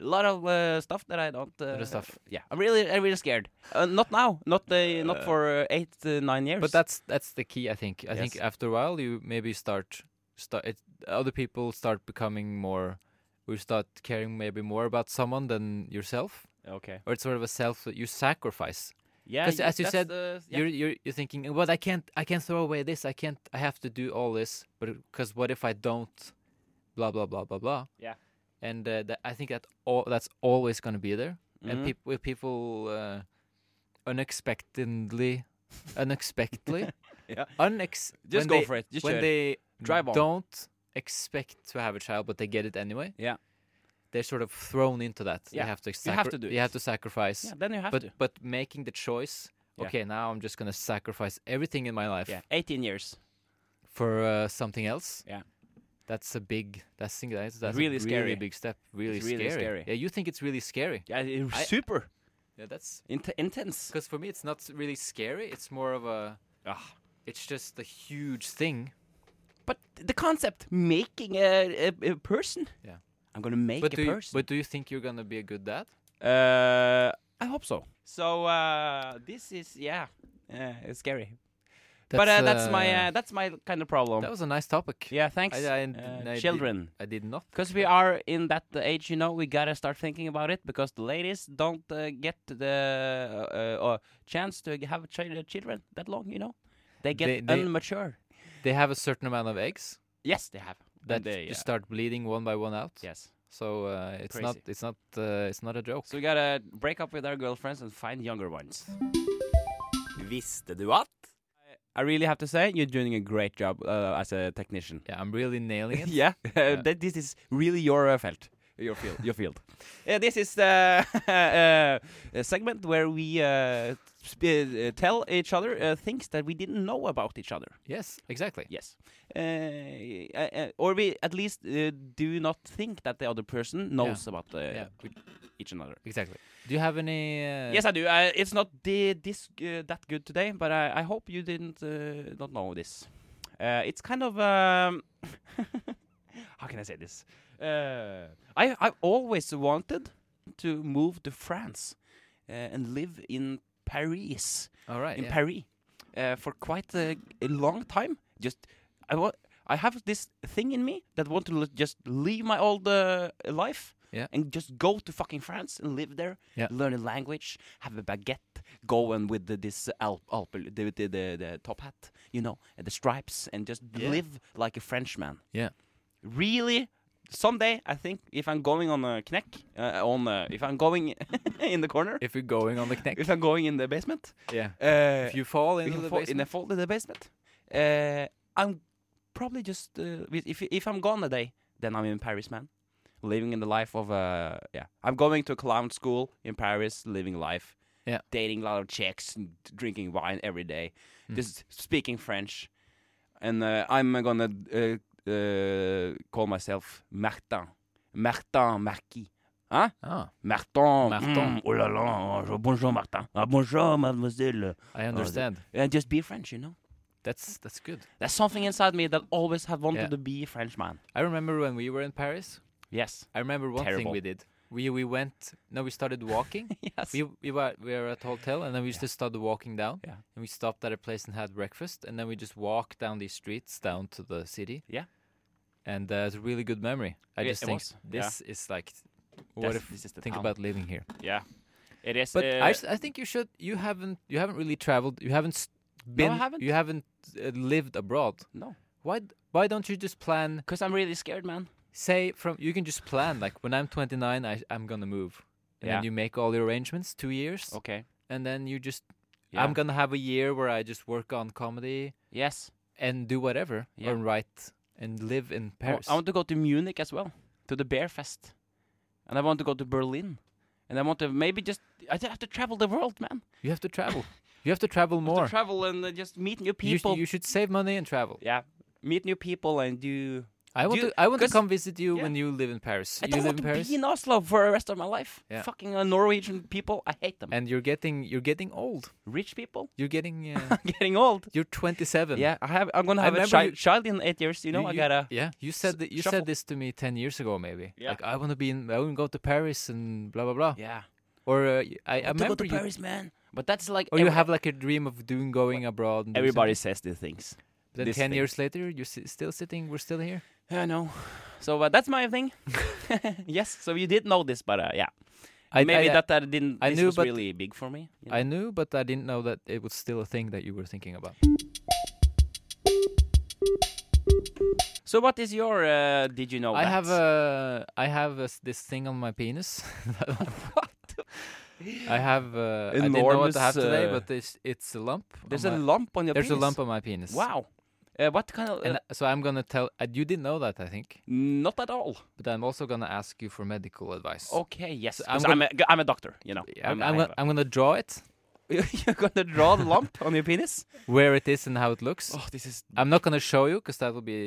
Speaker 3: A lot of uh, stuff that I don't uh,
Speaker 2: Lot of stuff.
Speaker 3: Yeah, I'm really I'm really scared. Uh, not now, not uh, not for uh, 8 uh, 9 years.
Speaker 2: But that's that's the key, I think. I think
Speaker 3: Yes.
Speaker 2: after a while you maybe start start it, other people start becoming more you start caring maybe more about someone than yourself,
Speaker 3: okay.
Speaker 2: or it's sort of a self that you sacrifice.
Speaker 3: Yeah,
Speaker 2: 'Cause as you
Speaker 3: that's
Speaker 2: said,
Speaker 3: the- yeah.
Speaker 2: you're, you're you're thinking, well, I can't I can't throw away this. I can't. I have to do all this. But because what if I don't? Blah blah blah blah blah.
Speaker 3: Yeah.
Speaker 2: And uh, that, I think that all that's always going to be there.
Speaker 3: Mhm.
Speaker 2: And people if people uh, unexpectedly, unexpectedly,
Speaker 3: Yeah.
Speaker 2: unex
Speaker 3: just
Speaker 2: when
Speaker 3: go
Speaker 2: they,
Speaker 3: for it. Just
Speaker 2: when
Speaker 3: kjør.
Speaker 2: they
Speaker 3: Drive on.
Speaker 2: don't expect to have a child, but they get it anyway.
Speaker 3: Yeah.
Speaker 2: They're sort of thrown into that.
Speaker 3: Yeah.
Speaker 2: They have to.
Speaker 3: You have
Speaker 2: sacri-
Speaker 3: to do
Speaker 2: You
Speaker 3: it.
Speaker 2: have to sacrifice
Speaker 3: yeah, then you have
Speaker 2: but
Speaker 3: to.
Speaker 2: but making the choice
Speaker 3: Yeah.
Speaker 2: okay now i'm just gonna sacrifice everything in my life
Speaker 3: Yeah, 18 years.
Speaker 2: for uh, something else
Speaker 3: Yeah.
Speaker 2: that's a big that's thing that's, that's
Speaker 3: Really
Speaker 2: a
Speaker 3: scary.
Speaker 2: really big step really,
Speaker 3: It's really
Speaker 2: scary.
Speaker 3: scary.
Speaker 2: yeah you think it's really scary
Speaker 3: Yeah, it's
Speaker 2: I-
Speaker 3: super
Speaker 2: yeah that's
Speaker 3: int- intense.
Speaker 2: because for me it's not really scary it's more of a
Speaker 3: Ah.
Speaker 2: it's just a huge thing
Speaker 3: But the concept making a, a, a person.
Speaker 2: Yeah.
Speaker 3: I'm gonna make
Speaker 2: but
Speaker 3: a
Speaker 2: do you,
Speaker 3: person.
Speaker 2: but do you think you're gonna be a good dad
Speaker 3: uh, I hope so. So uh, this is yeah, uh, it's scary. but uh, that's my uh, that's my kind of problem.
Speaker 2: that was a nice topic
Speaker 3: yeah, thanks.
Speaker 2: I- I-
Speaker 3: uh,
Speaker 2: I did-
Speaker 3: children.
Speaker 2: i did not
Speaker 3: Because we are in that uh, age, you know, we gotta start thinking about it. Because the ladies don't uh, get the uh, uh, chance to have chi- children that long, you know. They get
Speaker 2: They- they-
Speaker 3: unmature.
Speaker 2: they have a certain amount of eggs
Speaker 3: Yes, they have.
Speaker 2: that
Speaker 3: they,
Speaker 2: just start bleeding one by one out
Speaker 3: yes.
Speaker 2: so uh, it's not
Speaker 3: Crazy.
Speaker 2: it's not uh, it's not a joke
Speaker 3: So we gotta break up with our girlfriends and find younger ones.
Speaker 1: Visste du at?
Speaker 3: I really have to say, you're doing a great job uh, as a technician.
Speaker 2: Yeah, I'm really nailing it.
Speaker 3: yeah,
Speaker 2: Yeah.
Speaker 3: That, Uh, this is really your uh, felt. Your field, your field. Uh, this is the uh, a segment where we uh, sp- uh, tell each other uh, things that we didn't know about each other.
Speaker 2: Yes, exactly.
Speaker 3: Yes, uh, uh, uh, or we at least uh, do not think that the other person knows about uh,
Speaker 2: Yeah, we-
Speaker 3: each another.
Speaker 2: exactly. Do you have any? Uh,
Speaker 3: Yes, I do. I, it's not the, this uh, that good today, but I, I hope you didn't uh, not know this. Uh, it's kind of um, how can I say this? Uh, I I've always wanted to move to France uh, and live in Paris
Speaker 2: All right.
Speaker 3: in
Speaker 2: yeah.
Speaker 3: Paris uh, for quite a, a long time. Just I wa- I have this thing in me that want to l- just leave my old uh, life
Speaker 2: Yeah.
Speaker 3: and just go to fucking France and live there,
Speaker 2: Yeah.
Speaker 3: learn a language, have a baguette, going with the, this alp, alp the, the, the, the top hat, you know, and the stripes, and just
Speaker 2: Yeah.
Speaker 3: live like a Frenchman.
Speaker 2: Yeah.
Speaker 3: Really, someday I think if I'm going on a kneck, uh, on uh, if I'm going in the corner,
Speaker 2: If you're going on the
Speaker 3: if
Speaker 2: kneck.
Speaker 3: I'm going in the basement,
Speaker 2: yeah.
Speaker 3: uh,
Speaker 2: If you fall
Speaker 3: in
Speaker 2: into
Speaker 3: the,
Speaker 2: the
Speaker 3: fall, in the
Speaker 2: basement.
Speaker 3: fall in the basement. Uh, I'm probably just uh, with- if if I'm gone a day, then I'm in Paris, man, living in the life of uh yeah. I'm going to clown school in Paris, living life,
Speaker 2: Yeah.
Speaker 3: dating a lot of chicks, and drinking wine every day,
Speaker 2: Mm.
Speaker 3: just speaking French, and uh, I'm gonna uh, uh, call myself Martin, Martin Marquis. Huh?
Speaker 2: Ah,
Speaker 3: Martin,
Speaker 2: Martin.
Speaker 3: Mm, oh là là, oh, bonjour Martin, ah, bonjour mademoiselle.
Speaker 2: I understand.
Speaker 3: And just be French, you know.
Speaker 2: That's that's good.
Speaker 3: There's er something inside me that always have wanted
Speaker 2: Yeah.
Speaker 3: to be a Frenchman.
Speaker 2: I remember when we were in Paris.
Speaker 3: Yes.
Speaker 2: I remember one
Speaker 3: Terrible.
Speaker 2: thing we did. We we went. No, we started walking.
Speaker 3: yes.
Speaker 2: we we were we were at a hotel, and then we just started walking down.
Speaker 3: Yeah.
Speaker 2: And we stopped at a place and had breakfast, and then we just walked down these streets down to the city.
Speaker 3: Yeah.
Speaker 2: And uh, it's a really good memory. I
Speaker 3: Yeah,
Speaker 2: just
Speaker 3: it
Speaker 2: think
Speaker 3: was. Yeah.
Speaker 2: this is like what
Speaker 3: That's-
Speaker 2: if
Speaker 3: this is the
Speaker 2: think
Speaker 3: town.
Speaker 2: about living here.
Speaker 3: yeah. It is.
Speaker 2: But
Speaker 3: uh,
Speaker 2: I, s- I think you should. You haven't. You haven't really traveled. You haven't s-
Speaker 3: I
Speaker 2: been.
Speaker 3: haven't.
Speaker 2: You haven't uh, lived abroad.
Speaker 3: no,
Speaker 2: Why? d- Why don't you just plan?
Speaker 3: because I'm really scared, man.
Speaker 2: Say from. You can just plan. Like when I'm 29, I I'm gonna move. And
Speaker 3: Yeah. Oh.
Speaker 2: then you make all your arrangements. Two years.
Speaker 3: Okay.
Speaker 2: And then you just.
Speaker 3: Yeah.
Speaker 2: I'm gonna have a year where I just work on comedy
Speaker 3: yes.
Speaker 2: and do whatever
Speaker 3: Yeah.
Speaker 2: and write and live in
Speaker 3: I wa-
Speaker 2: Paris.
Speaker 3: I, want to go to Munich as well, to the Bear Fest, and I want to go to Berlin, and I want to maybe just I have to travel the world, man.
Speaker 2: you have to travel. you have to travel
Speaker 3: I have
Speaker 2: more.
Speaker 3: to travel and uh, just meet new
Speaker 2: You, sh-
Speaker 3: people.
Speaker 2: you should save money and travel.
Speaker 3: yeah. Meet new people and do.
Speaker 2: I want
Speaker 3: you-
Speaker 2: to. I want to
Speaker 3: 'cause-
Speaker 2: come visit you
Speaker 3: yeah.
Speaker 2: when you live in Paris.
Speaker 3: I
Speaker 2: you
Speaker 3: don't
Speaker 2: live
Speaker 3: want
Speaker 2: in
Speaker 3: to
Speaker 2: Paris.
Speaker 3: be in Oslo for the rest of my life.
Speaker 2: Yeah.
Speaker 3: Fucking uh, Norwegian people, I hate them.
Speaker 2: and you're getting you're getting old.
Speaker 3: Rich people,
Speaker 2: You're getting uh,
Speaker 3: getting old.
Speaker 2: you're 27.
Speaker 3: Yeah, I have. I'm gonna
Speaker 2: I
Speaker 3: have a
Speaker 2: remember
Speaker 3: child,
Speaker 2: you-
Speaker 3: child in eight years. You know, I gotta.
Speaker 2: Yeah, you said that you
Speaker 3: shuffle.
Speaker 2: said this to me 10 years ago maybe.
Speaker 3: Yeah.
Speaker 2: Like I want to be in I want to go to Paris and blah blah blah.
Speaker 3: Yeah,
Speaker 2: Or uh, y- I, I
Speaker 3: I to go
Speaker 2: remember
Speaker 3: to
Speaker 2: you
Speaker 3: Paris, man. But that's like.
Speaker 2: or you
Speaker 3: every-
Speaker 2: have like a dream of doing going abroad. And doing
Speaker 3: Everybody
Speaker 2: something.
Speaker 3: says these things.
Speaker 2: Then
Speaker 3: this
Speaker 2: 10
Speaker 3: thing.
Speaker 2: years later you're si- still sitting we're still here.
Speaker 3: I know. So uh, that's my thing. yes. So you did know this, but uh, yeah,
Speaker 2: I
Speaker 3: maybe
Speaker 2: I, uh,
Speaker 3: that I didn't.
Speaker 2: I
Speaker 3: this
Speaker 2: knew,
Speaker 3: was
Speaker 2: but-
Speaker 3: really big for me. you know?
Speaker 2: I knew but I didn't know that it was still a thing that you were thinking about.
Speaker 3: so what is your? Uh, did you know?
Speaker 2: I have
Speaker 3: that?
Speaker 2: a I have a s this thing on my penis. what? I have uh, I didn't know what
Speaker 3: Enormous,
Speaker 2: I have today
Speaker 3: uh,
Speaker 2: but it's it's a lump. on
Speaker 3: There's a
Speaker 2: my-
Speaker 3: lump on your.
Speaker 2: There's
Speaker 3: penis.
Speaker 2: a lump on my penis.
Speaker 3: Wow. Uh, what kind of? Uh,
Speaker 2: And uh, so I'm gonna tell. Uh, you didn't know that, I think.
Speaker 3: not at all.
Speaker 2: But I'm also gonna ask you for medical advice.
Speaker 3: Okay. Yes.
Speaker 2: I'm
Speaker 3: 'cause I'm, a, Oh, I'm a doctor. You know.
Speaker 2: Yeah, I'm,
Speaker 3: I
Speaker 2: I'm,
Speaker 3: have
Speaker 2: gonna, I'm gonna draw it
Speaker 3: a- You're gonna draw the lump on your penis.
Speaker 2: where it is and how it looks.
Speaker 3: Oh, this is
Speaker 2: I'm not gonna show you because that will be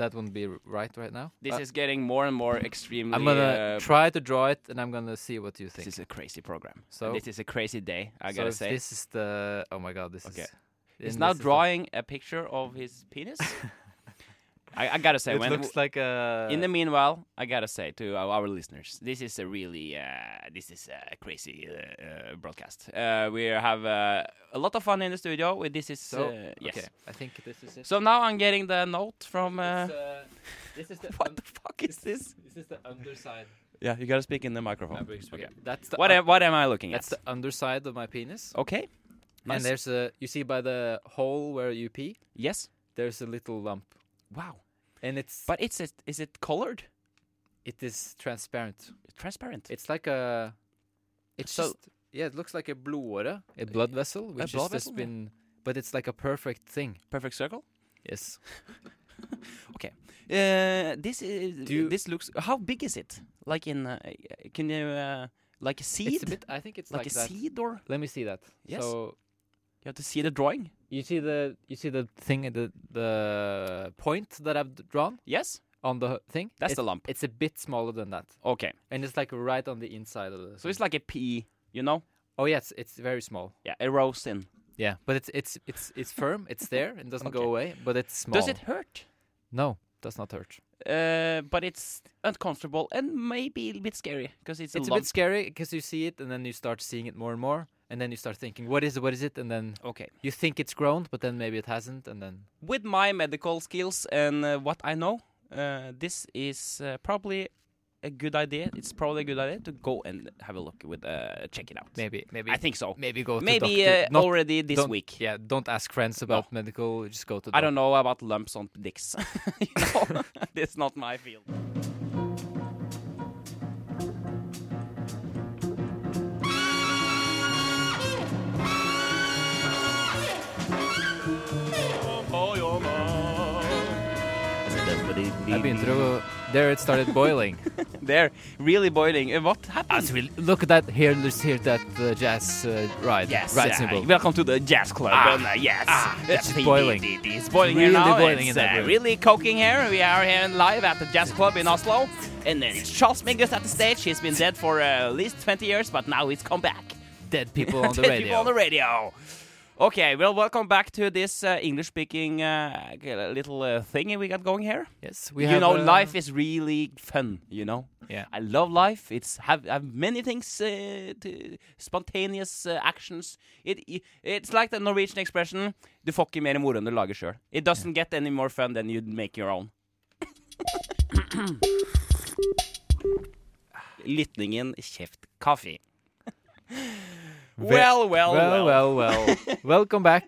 Speaker 2: that won't be r- right right now.
Speaker 3: This
Speaker 2: Uh,
Speaker 3: is getting more and more extremely.
Speaker 2: I'm gonna
Speaker 3: uh,
Speaker 2: try to draw it and I'm gonna see what you
Speaker 3: This
Speaker 2: think.
Speaker 3: is a crazy program.
Speaker 2: So-
Speaker 3: this is a crazy day. I
Speaker 2: So
Speaker 3: gotta
Speaker 2: if
Speaker 3: say,
Speaker 2: this is the. Oh my god, this
Speaker 3: Okay.
Speaker 2: is.
Speaker 3: he's
Speaker 2: and
Speaker 3: now
Speaker 2: this is the-
Speaker 3: drawing a picture of his penis. I, I gotta say,
Speaker 2: It
Speaker 3: when
Speaker 2: looks like a.
Speaker 3: in the meanwhile, I gotta say to our, our listeners, this is a really, uh, this is a crazy uh, uh, broadcast. Uh, we have uh, a lot of fun in the studio. with This is
Speaker 2: so,
Speaker 3: uh, yes.
Speaker 2: Okay, I think this is it.
Speaker 3: So now I'm getting the note from. Uh,
Speaker 2: It's, uh, this is the.
Speaker 3: what
Speaker 2: un-
Speaker 3: the fuck is this?
Speaker 2: This is the underside.
Speaker 3: Yeah, you gotta speak in the microphone.
Speaker 2: Okay. That's the.
Speaker 3: What am, what am I looking
Speaker 2: That's
Speaker 3: at?
Speaker 2: the underside of my penis.
Speaker 3: okay. Oh, Nice.
Speaker 2: And there's a you see by the hole where you pee,
Speaker 3: yes.
Speaker 2: there's a little lump.
Speaker 3: Wow.
Speaker 2: And it's
Speaker 3: But it's it, is it colored?
Speaker 2: it is transparent.
Speaker 3: Transparent.
Speaker 2: It's like a it's
Speaker 3: So-
Speaker 2: just yeah, it looks like a blodåre, a blood vessel which
Speaker 3: blood
Speaker 2: has just
Speaker 3: vessel, yeah.
Speaker 2: been but it's like a perfect thing.
Speaker 3: perfect circle.
Speaker 2: Yes.
Speaker 3: Uh, this is
Speaker 2: Do you-
Speaker 3: this looks. How big is it? Like in uh, uh, can you uh, like a seed?
Speaker 2: It's a bit I think it's
Speaker 3: like,
Speaker 2: like,
Speaker 3: a
Speaker 2: that.
Speaker 3: seed or
Speaker 2: Let me see that.
Speaker 3: Yes.
Speaker 2: So
Speaker 3: you have to see the drawing.
Speaker 2: you see the you see the thing the the point that I've d- drawn
Speaker 3: Yes,
Speaker 2: on the thing?
Speaker 3: that's
Speaker 2: it's,
Speaker 3: the lump.
Speaker 2: it's a bit smaller than that.
Speaker 3: Okay,
Speaker 2: And it's like right on the inside of the
Speaker 3: so it's like a pea. You know,
Speaker 2: Oh yes, it's very small.
Speaker 3: yeah, a rose in.
Speaker 2: Yeah, but it's it's it's it's firm. It's there. It doesn't
Speaker 3: Okay.
Speaker 2: go away, but it's small.
Speaker 3: Does it hurt?
Speaker 2: No, does not hurt.
Speaker 3: Uh, but it's uncomfortable and maybe a bit scary because it's a
Speaker 2: It's a
Speaker 3: lump.
Speaker 2: bit scary because you see it, and then you start seeing it more and more, and then you start thinking, "What is it? What is it?" And then
Speaker 3: okay.
Speaker 2: you think it's grown, but then maybe it hasn't, and then
Speaker 3: With my medical skills and uh, what I know, uh, this is uh, probably a good idea. It's probably a good idea to go and have a look with, uh, check it out.
Speaker 2: Maybe, maybe,
Speaker 3: I think so.
Speaker 2: maybe go to
Speaker 3: Maybe
Speaker 2: doctor.
Speaker 3: uh,
Speaker 2: Not-
Speaker 3: already this
Speaker 2: don't-
Speaker 3: week.
Speaker 2: Yeah, don't ask friends about medical. Just go to.
Speaker 3: I don't know about lumps on dicks. you know, it's not my field.
Speaker 2: Jeg begynte å uh, There it started boiling.
Speaker 3: There, really boiling. Uh, What happened?
Speaker 2: As we look at that here, let's hear that uh, jazz uh, ride.
Speaker 3: Yes,
Speaker 2: ride
Speaker 3: yeah.
Speaker 2: symbol.
Speaker 3: welcome to the jazz club.
Speaker 2: Ah,
Speaker 3: and, uh, yes,
Speaker 2: ah,
Speaker 3: Yes,
Speaker 2: it's
Speaker 3: it-
Speaker 2: boiling.
Speaker 3: it- it- it's boiling here
Speaker 2: Really
Speaker 3: now.
Speaker 2: boiling
Speaker 3: it's
Speaker 2: in that
Speaker 3: uh,
Speaker 2: room.
Speaker 3: really coking here. We are here live at the jazz club in Oslo, and uh, it's Charles Mingus at the stage. He's been dead for uh, at least twenty years, but now he's come back.
Speaker 2: Dead people on the
Speaker 3: Dead
Speaker 2: radio.
Speaker 3: People on the radio. Okay, well, welcome back to this uh, English-speaking uh, little uh, thingy we got going here.
Speaker 2: Yes, we
Speaker 3: you
Speaker 2: have,
Speaker 3: know,
Speaker 2: uh,
Speaker 3: life is really fun. You know,
Speaker 2: Yeah.
Speaker 3: I love life. It's have, have many things, uh, to, spontaneous uh, actions. It, i- it's like the Norwegian expression: "Du får ikke mer moro enn du lager sjøl." It doesn't get any more fun than you make your own. Lytningen kjeft kaffe. well, well,
Speaker 2: Well, well, well. Welcome back.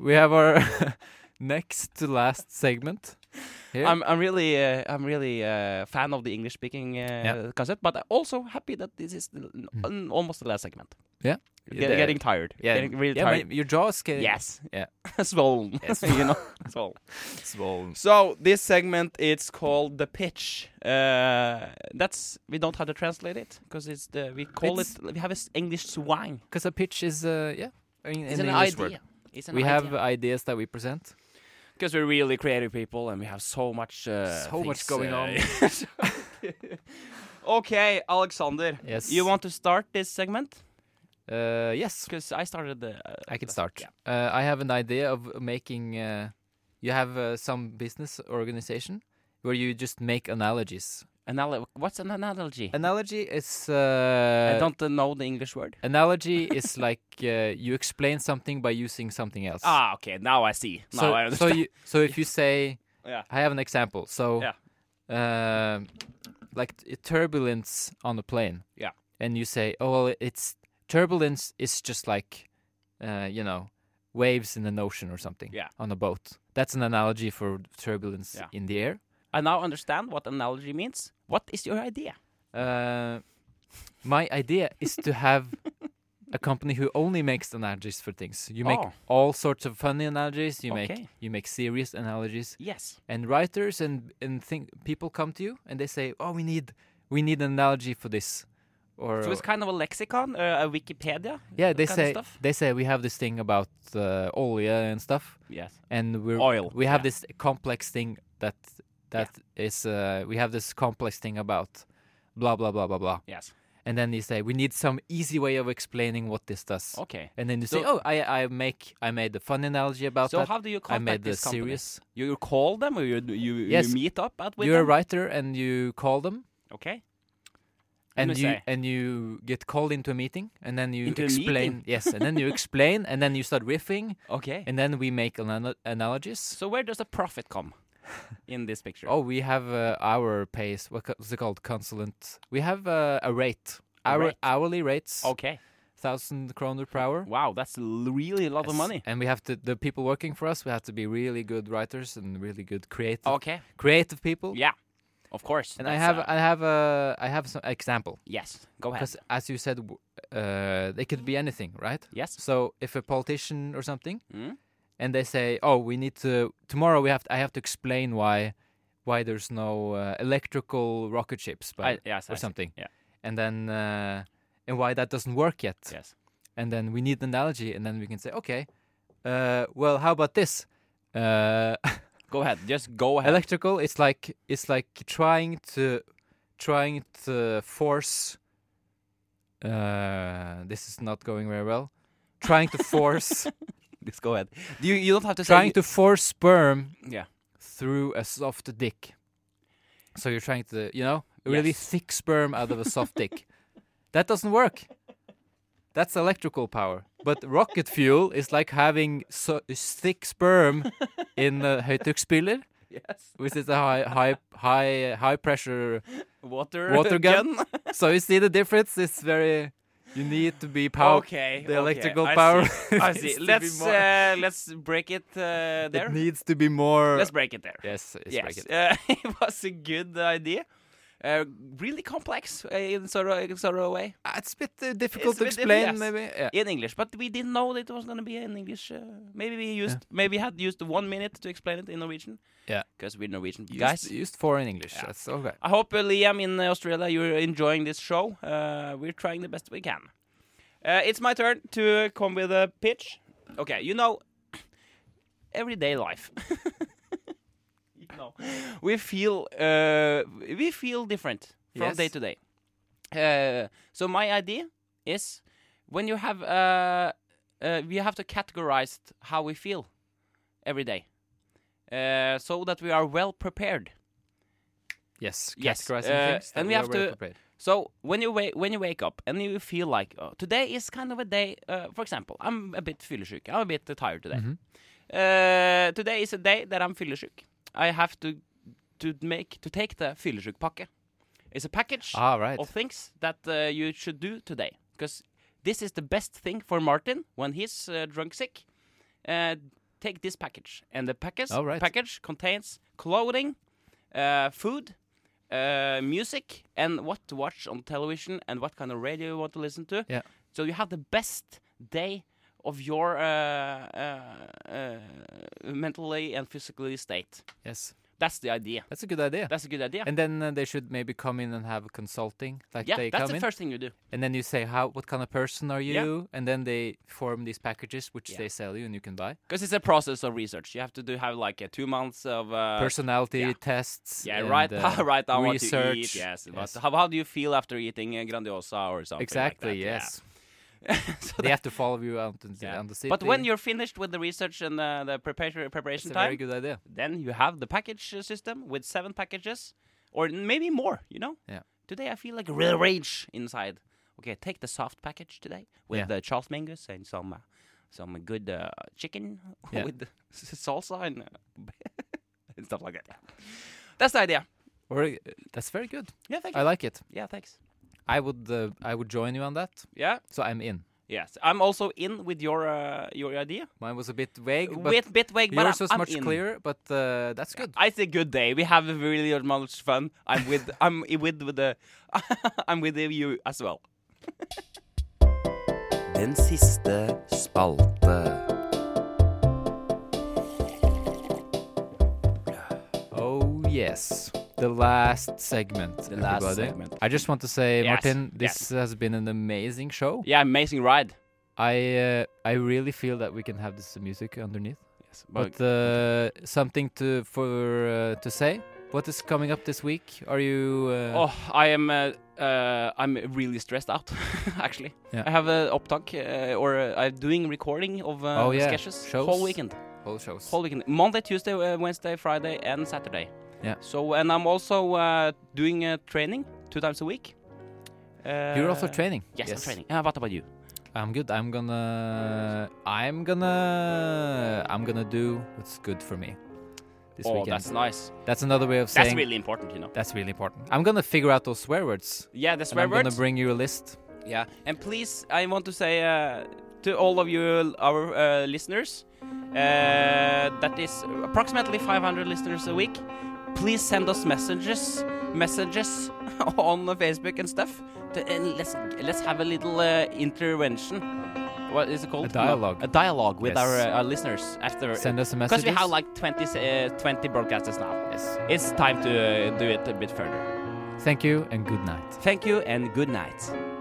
Speaker 2: We have our next to last segment. Here.
Speaker 3: I'm, I'm really uh, I'm really uh, fan of the English speaking uh,
Speaker 2: Yeah. Hmm.
Speaker 3: concept, but I'm also happy that this is the, n- almost the last segment.
Speaker 2: Yeah.
Speaker 3: Get-
Speaker 2: The-
Speaker 3: getting tired.
Speaker 2: yeah,
Speaker 3: getting really
Speaker 2: yeah,
Speaker 3: tired.
Speaker 2: my- your jaw's getting
Speaker 3: yes.
Speaker 2: Yeah.
Speaker 3: Swollen.
Speaker 2: Yes.
Speaker 3: you know. Swollen.
Speaker 2: swollen.
Speaker 3: So this segment it's called the pitch. Uh, that's we don't have to translate it because it's the we call
Speaker 2: It's-
Speaker 3: it we have an English swang.
Speaker 2: Because a pitch is, uh, yeah, I mean,
Speaker 3: It's
Speaker 2: an
Speaker 3: an
Speaker 2: English
Speaker 3: idea.
Speaker 2: word.
Speaker 3: It's an
Speaker 2: We have
Speaker 3: idea.
Speaker 2: ideas that we present.
Speaker 3: because we're really creative people and we have so much uh,
Speaker 2: So much going
Speaker 3: on. okay, Alexander,
Speaker 2: Yes.
Speaker 3: you want to start this segment?
Speaker 2: Uh, yes,
Speaker 3: Because I started the. Uh,
Speaker 2: I can
Speaker 3: the-
Speaker 2: start.
Speaker 3: yeah.
Speaker 2: Uh, I have an idea of making. Uh, you have uh, some business organization where you just make analogies.
Speaker 3: Anal- what's an analogy?
Speaker 2: Analogy is. Uh,
Speaker 3: I don't uh, know the English word.
Speaker 2: Analogy is like uh, you explain something by using something else.
Speaker 3: Ah, okay, now I see. Now I
Speaker 2: so
Speaker 3: understand.
Speaker 2: you, so if you say,
Speaker 3: Yeah.
Speaker 2: I have an example. So, um, like t- turbulence on a plane.
Speaker 3: Yeah.
Speaker 2: And you say, oh well, it's turbulence is just like, uh, you know, waves in an ocean or something.
Speaker 3: Yeah.
Speaker 2: On a boat. That's an analogy for turbulence
Speaker 3: Yeah.
Speaker 2: in the air.
Speaker 3: I now understand what analogy means. What is your idea?
Speaker 2: Uh, my idea is to have a company who only makes analogies for things. You make
Speaker 3: Oh.
Speaker 2: all sorts of funny analogies. You make
Speaker 3: Okay.
Speaker 2: you make serious analogies,
Speaker 3: Yes.
Speaker 2: and writers and and think people come to you and they say, "Oh, we need we need an analogy for this," or
Speaker 3: So it's kind of a lexicon, uh, a Wikipedia.
Speaker 2: yeah, they
Speaker 3: kind of
Speaker 2: say
Speaker 3: stuff?
Speaker 2: they say we have this thing about uh, oil and stuff,
Speaker 3: Yes.
Speaker 2: and we're
Speaker 3: Oil,
Speaker 2: we have
Speaker 3: yeah.
Speaker 2: this complex thing that that is uh, we have this complex thing about blah blah blah blah blah.
Speaker 3: Yes.
Speaker 2: And then you say, we need some easy way of explaining what this does.
Speaker 3: Okay.
Speaker 2: And then you say,
Speaker 3: So-
Speaker 2: oh, I, I make, I made a fun analogy about
Speaker 3: So
Speaker 2: that.
Speaker 3: how do you
Speaker 2: I
Speaker 3: contact
Speaker 2: made the
Speaker 3: this company?
Speaker 2: series.
Speaker 3: You you call them or you you,
Speaker 2: Yes.
Speaker 3: you meet up at with
Speaker 2: You're a
Speaker 3: them?
Speaker 2: writer and you call them
Speaker 3: Okay.
Speaker 2: and
Speaker 3: me
Speaker 2: you
Speaker 3: say.
Speaker 2: and you get called into a meeting and then you
Speaker 3: Into a
Speaker 2: explain.
Speaker 3: meeting?
Speaker 2: yes, and then you explain and then you start riffing
Speaker 3: Okay.
Speaker 2: and then we make an ana- analogies.
Speaker 3: so where does the profit come in this picture?
Speaker 2: Oh, we have uh, our pays. What's it called? Consultant. We have uh, a rate.
Speaker 3: A
Speaker 2: Our
Speaker 3: rate. Oh.
Speaker 2: hourly rates,
Speaker 3: Okay.
Speaker 2: thousand kroner per hour.
Speaker 3: Wow, that's l- really a lot of
Speaker 2: Yes,
Speaker 3: money.
Speaker 2: And we have to the people working for us. We have to be really good writers and really good creative
Speaker 3: Okay.
Speaker 2: creative people.
Speaker 3: Oh. Yeah. Of course.
Speaker 2: And I
Speaker 3: that's,
Speaker 2: have
Speaker 3: uh,
Speaker 2: I have a I have some example
Speaker 3: yes. Go ahead.
Speaker 2: because as you said, w- uh, they could be anything, right?
Speaker 3: Yes.
Speaker 2: So if a politician or something,
Speaker 3: Mm.
Speaker 2: and they say, "Oh, we need to tomorrow. We have to, I have to explain why why there's no uh, electrical rocket ships, but,
Speaker 3: I, yes.
Speaker 2: or
Speaker 3: I see.
Speaker 2: something."
Speaker 3: Yeah.
Speaker 2: And then uh, and why that doesn't work yet.
Speaker 3: Yes.
Speaker 2: and then we need an analogy, and then we can say, okay, uh, well, how about this? Uh,
Speaker 3: Go ahead. Just go ahead.
Speaker 2: electrical, it's like it's like trying to trying to force. Uh, this is not going very well. Trying to force,
Speaker 3: Just go ahead. Do you you don't have to
Speaker 2: trying
Speaker 3: say
Speaker 2: to force sperm
Speaker 3: Yeah.
Speaker 2: through a soft dick. So you're trying to, you know, a really
Speaker 3: Yes.
Speaker 2: thick sperm out of a soft dick. That doesn't work. That's electrical power. But rocket fuel is like having so, thick sperm in a høytrykksspyler
Speaker 3: Yes.
Speaker 2: which is a high high high high pressure.
Speaker 3: Water,
Speaker 2: Water gun? So you see the difference. It's very. You need to be power.
Speaker 3: okay.
Speaker 2: The
Speaker 3: okay,
Speaker 2: electrical
Speaker 3: I
Speaker 2: power.
Speaker 3: See. I
Speaker 2: needs
Speaker 3: see.
Speaker 2: to be
Speaker 3: Let's
Speaker 2: more-
Speaker 3: uh, let's break it uh, there.
Speaker 2: It needs to be more.
Speaker 3: Let's break it there.
Speaker 2: yes. It's
Speaker 3: yes,
Speaker 2: break it.
Speaker 3: Uh, it was a good idea. Uh, really complex uh, in sort of, in sort of a way
Speaker 2: Uh, It's a bit uh,
Speaker 3: It's
Speaker 2: difficult to
Speaker 3: a bit-
Speaker 2: explain,
Speaker 3: yes.
Speaker 2: maybe. Yeah.
Speaker 3: in English, but we didn't know that it was going to be in English. Uh, maybe we used maybe had used one minute to explain it in Norwegian.
Speaker 2: Yeah.
Speaker 3: because we're Norwegian
Speaker 2: Used,
Speaker 3: guys.
Speaker 2: used foreign English.
Speaker 3: Yeah.
Speaker 2: That's okay.
Speaker 3: I hope uh, Liam in Australia you're enjoying this show. Uh, we're trying the best we can. Uh, it's my turn to come with a pitch. Okay, you know, everyday life. you know, we feel uh, we feel different from
Speaker 2: Yes.
Speaker 3: day to day. Uh, so my idea is when you have uh, uh, we have to categorize how we feel every day, uh, so that we are well prepared.
Speaker 2: Yes.
Speaker 3: Yes,
Speaker 2: Categorizing
Speaker 3: uh,
Speaker 2: things. that
Speaker 3: and we
Speaker 2: are
Speaker 3: have
Speaker 2: well
Speaker 3: to-
Speaker 2: prepared.
Speaker 3: So when you wake when you wake up and you feel like oh, today is kind of a day. Uh, for example, I'm a bit fyllesyk. I'm a bit tired today.
Speaker 2: Mhm.
Speaker 3: Uh, today is a day that I'm fyllesyk. I have to to make to take the fyllesykpakke. It's a package
Speaker 2: Ah, right.
Speaker 3: of things that uh, you should do today because this is the best thing for Martin when he's uh, drunk sick. Uh, take this package, and the package
Speaker 2: All right.
Speaker 3: package contains clothing, uh, food, uh, music, and what to watch on television and what kind of radio you want to listen to.
Speaker 2: Yeah.
Speaker 3: So you have the best day of your uh, uh, uh, mentally and physically state.
Speaker 2: Yes.
Speaker 3: That's the idea.
Speaker 2: That's a good idea.
Speaker 3: That's a good idea.
Speaker 2: And then uh, they should maybe come in and have consulting. Like
Speaker 3: yeah,
Speaker 2: they
Speaker 3: that's
Speaker 2: come
Speaker 3: the
Speaker 2: in,
Speaker 3: first thing you do.
Speaker 2: and then you say how, what kind of person are
Speaker 3: Yeah.
Speaker 2: you, and then they form these packages which
Speaker 3: Yeah.
Speaker 2: they sell you and you can buy.
Speaker 3: Because it's a process of research. You have to do have like a two months of uh,
Speaker 2: Personality
Speaker 3: yeah.
Speaker 2: tests.
Speaker 3: yeah,
Speaker 2: and,
Speaker 3: right,
Speaker 2: uh,
Speaker 3: right. I want to
Speaker 2: research.
Speaker 3: eat. Yes, what-
Speaker 2: Yes.
Speaker 3: How, how do you feel after eating uh, grandiosa or something?
Speaker 2: Exactly.
Speaker 3: Like that? yeah.
Speaker 2: yes.
Speaker 3: So
Speaker 2: They have to follow you out in the,
Speaker 3: Yeah.
Speaker 2: on the city.
Speaker 3: But when you're finished with the research and uh, the preparation
Speaker 2: it's a
Speaker 3: preparation time,
Speaker 2: very good idea.
Speaker 3: then you have the package uh, system with seven packages, or maybe more. You know.
Speaker 2: Yeah.
Speaker 3: Today I feel like real rage inside. Okay, take the soft package today with
Speaker 2: Yeah.
Speaker 3: the Charles Mingus and some uh, some good uh, chicken
Speaker 2: Yeah.
Speaker 3: with s- salsa and, uh, and stuff like that. That's the idea.
Speaker 2: Or, uh, that's very good.
Speaker 3: Yeah, thank you.
Speaker 2: I like it.
Speaker 3: yeah, thanks.
Speaker 2: I would uh, I would join you on that.
Speaker 3: Yeah.
Speaker 2: So I'm in.
Speaker 3: Yes, I'm also in with your uh, your idea.
Speaker 2: Mine was a bit vague, but
Speaker 3: With bit vague, but
Speaker 2: yours
Speaker 3: I'm,
Speaker 2: was
Speaker 3: I'm
Speaker 2: much
Speaker 3: in.
Speaker 2: clearer. But uh, that's good.
Speaker 3: I say good day. We have really much fun. I'm with I'm i- with with the I'm with you as well.
Speaker 1: Den siste spalte.
Speaker 2: Oh yes, the last segment.
Speaker 3: The last
Speaker 2: everybody.
Speaker 3: segment.
Speaker 2: I just want to say,
Speaker 3: Yes,
Speaker 2: Martin,
Speaker 3: yes.
Speaker 2: this has been an amazing show.
Speaker 3: Yeah, amazing ride.
Speaker 2: I uh, I really feel that we can have this music underneath.
Speaker 3: Yes,
Speaker 2: But uh, something to for uh, to say. What is coming up this week? Are you? Uh,
Speaker 3: oh, I am uh, uh, I'm really stressed out actually.
Speaker 2: Yeah.
Speaker 3: I have a opptak uh, or uh, I'm doing recording of uh,
Speaker 2: Oh, yeah.
Speaker 3: sketches
Speaker 2: Shows.
Speaker 3: whole weekend.
Speaker 2: whole shows.
Speaker 3: Whole weekend. Monday, Tuesday, uh, Wednesday, Friday, and Saturday.
Speaker 2: Yeah.
Speaker 3: So and I'm also uh, doing uh, training two times a week. Uh,
Speaker 2: You're also training. Ah,
Speaker 3: Yes, I'm training. Uh, what about you?
Speaker 2: I'm good. I'm gonna. I'm gonna. I'm gonna do what's good for me this
Speaker 3: oh,
Speaker 2: weekend.
Speaker 3: that's nice.
Speaker 2: That's another way of saying
Speaker 3: That's really important, you know.
Speaker 2: that's really important. I'm gonna figure out those swear words.
Speaker 3: Yeah, the
Speaker 2: And
Speaker 3: swear
Speaker 2: I'm gonna
Speaker 3: words.
Speaker 2: bring you a list.
Speaker 3: yeah, and please, I want to say uh, to all of you, our uh, listeners, uh, that is approximately 500 listeners a week. Please send us messages, messages on the Facebook and stuff. To, and let's let's have a little uh, intervention. What is it called?
Speaker 2: A dialogue.
Speaker 3: A dialogue with
Speaker 2: Yes.
Speaker 3: our, uh, our listeners after.
Speaker 2: Send us a message.
Speaker 3: Because we have like 20, uh, 20 broadcasters now.
Speaker 2: Yes.
Speaker 3: It's time to uh, do it a bit further.
Speaker 2: Thank you and good night.
Speaker 3: Thank you and good night.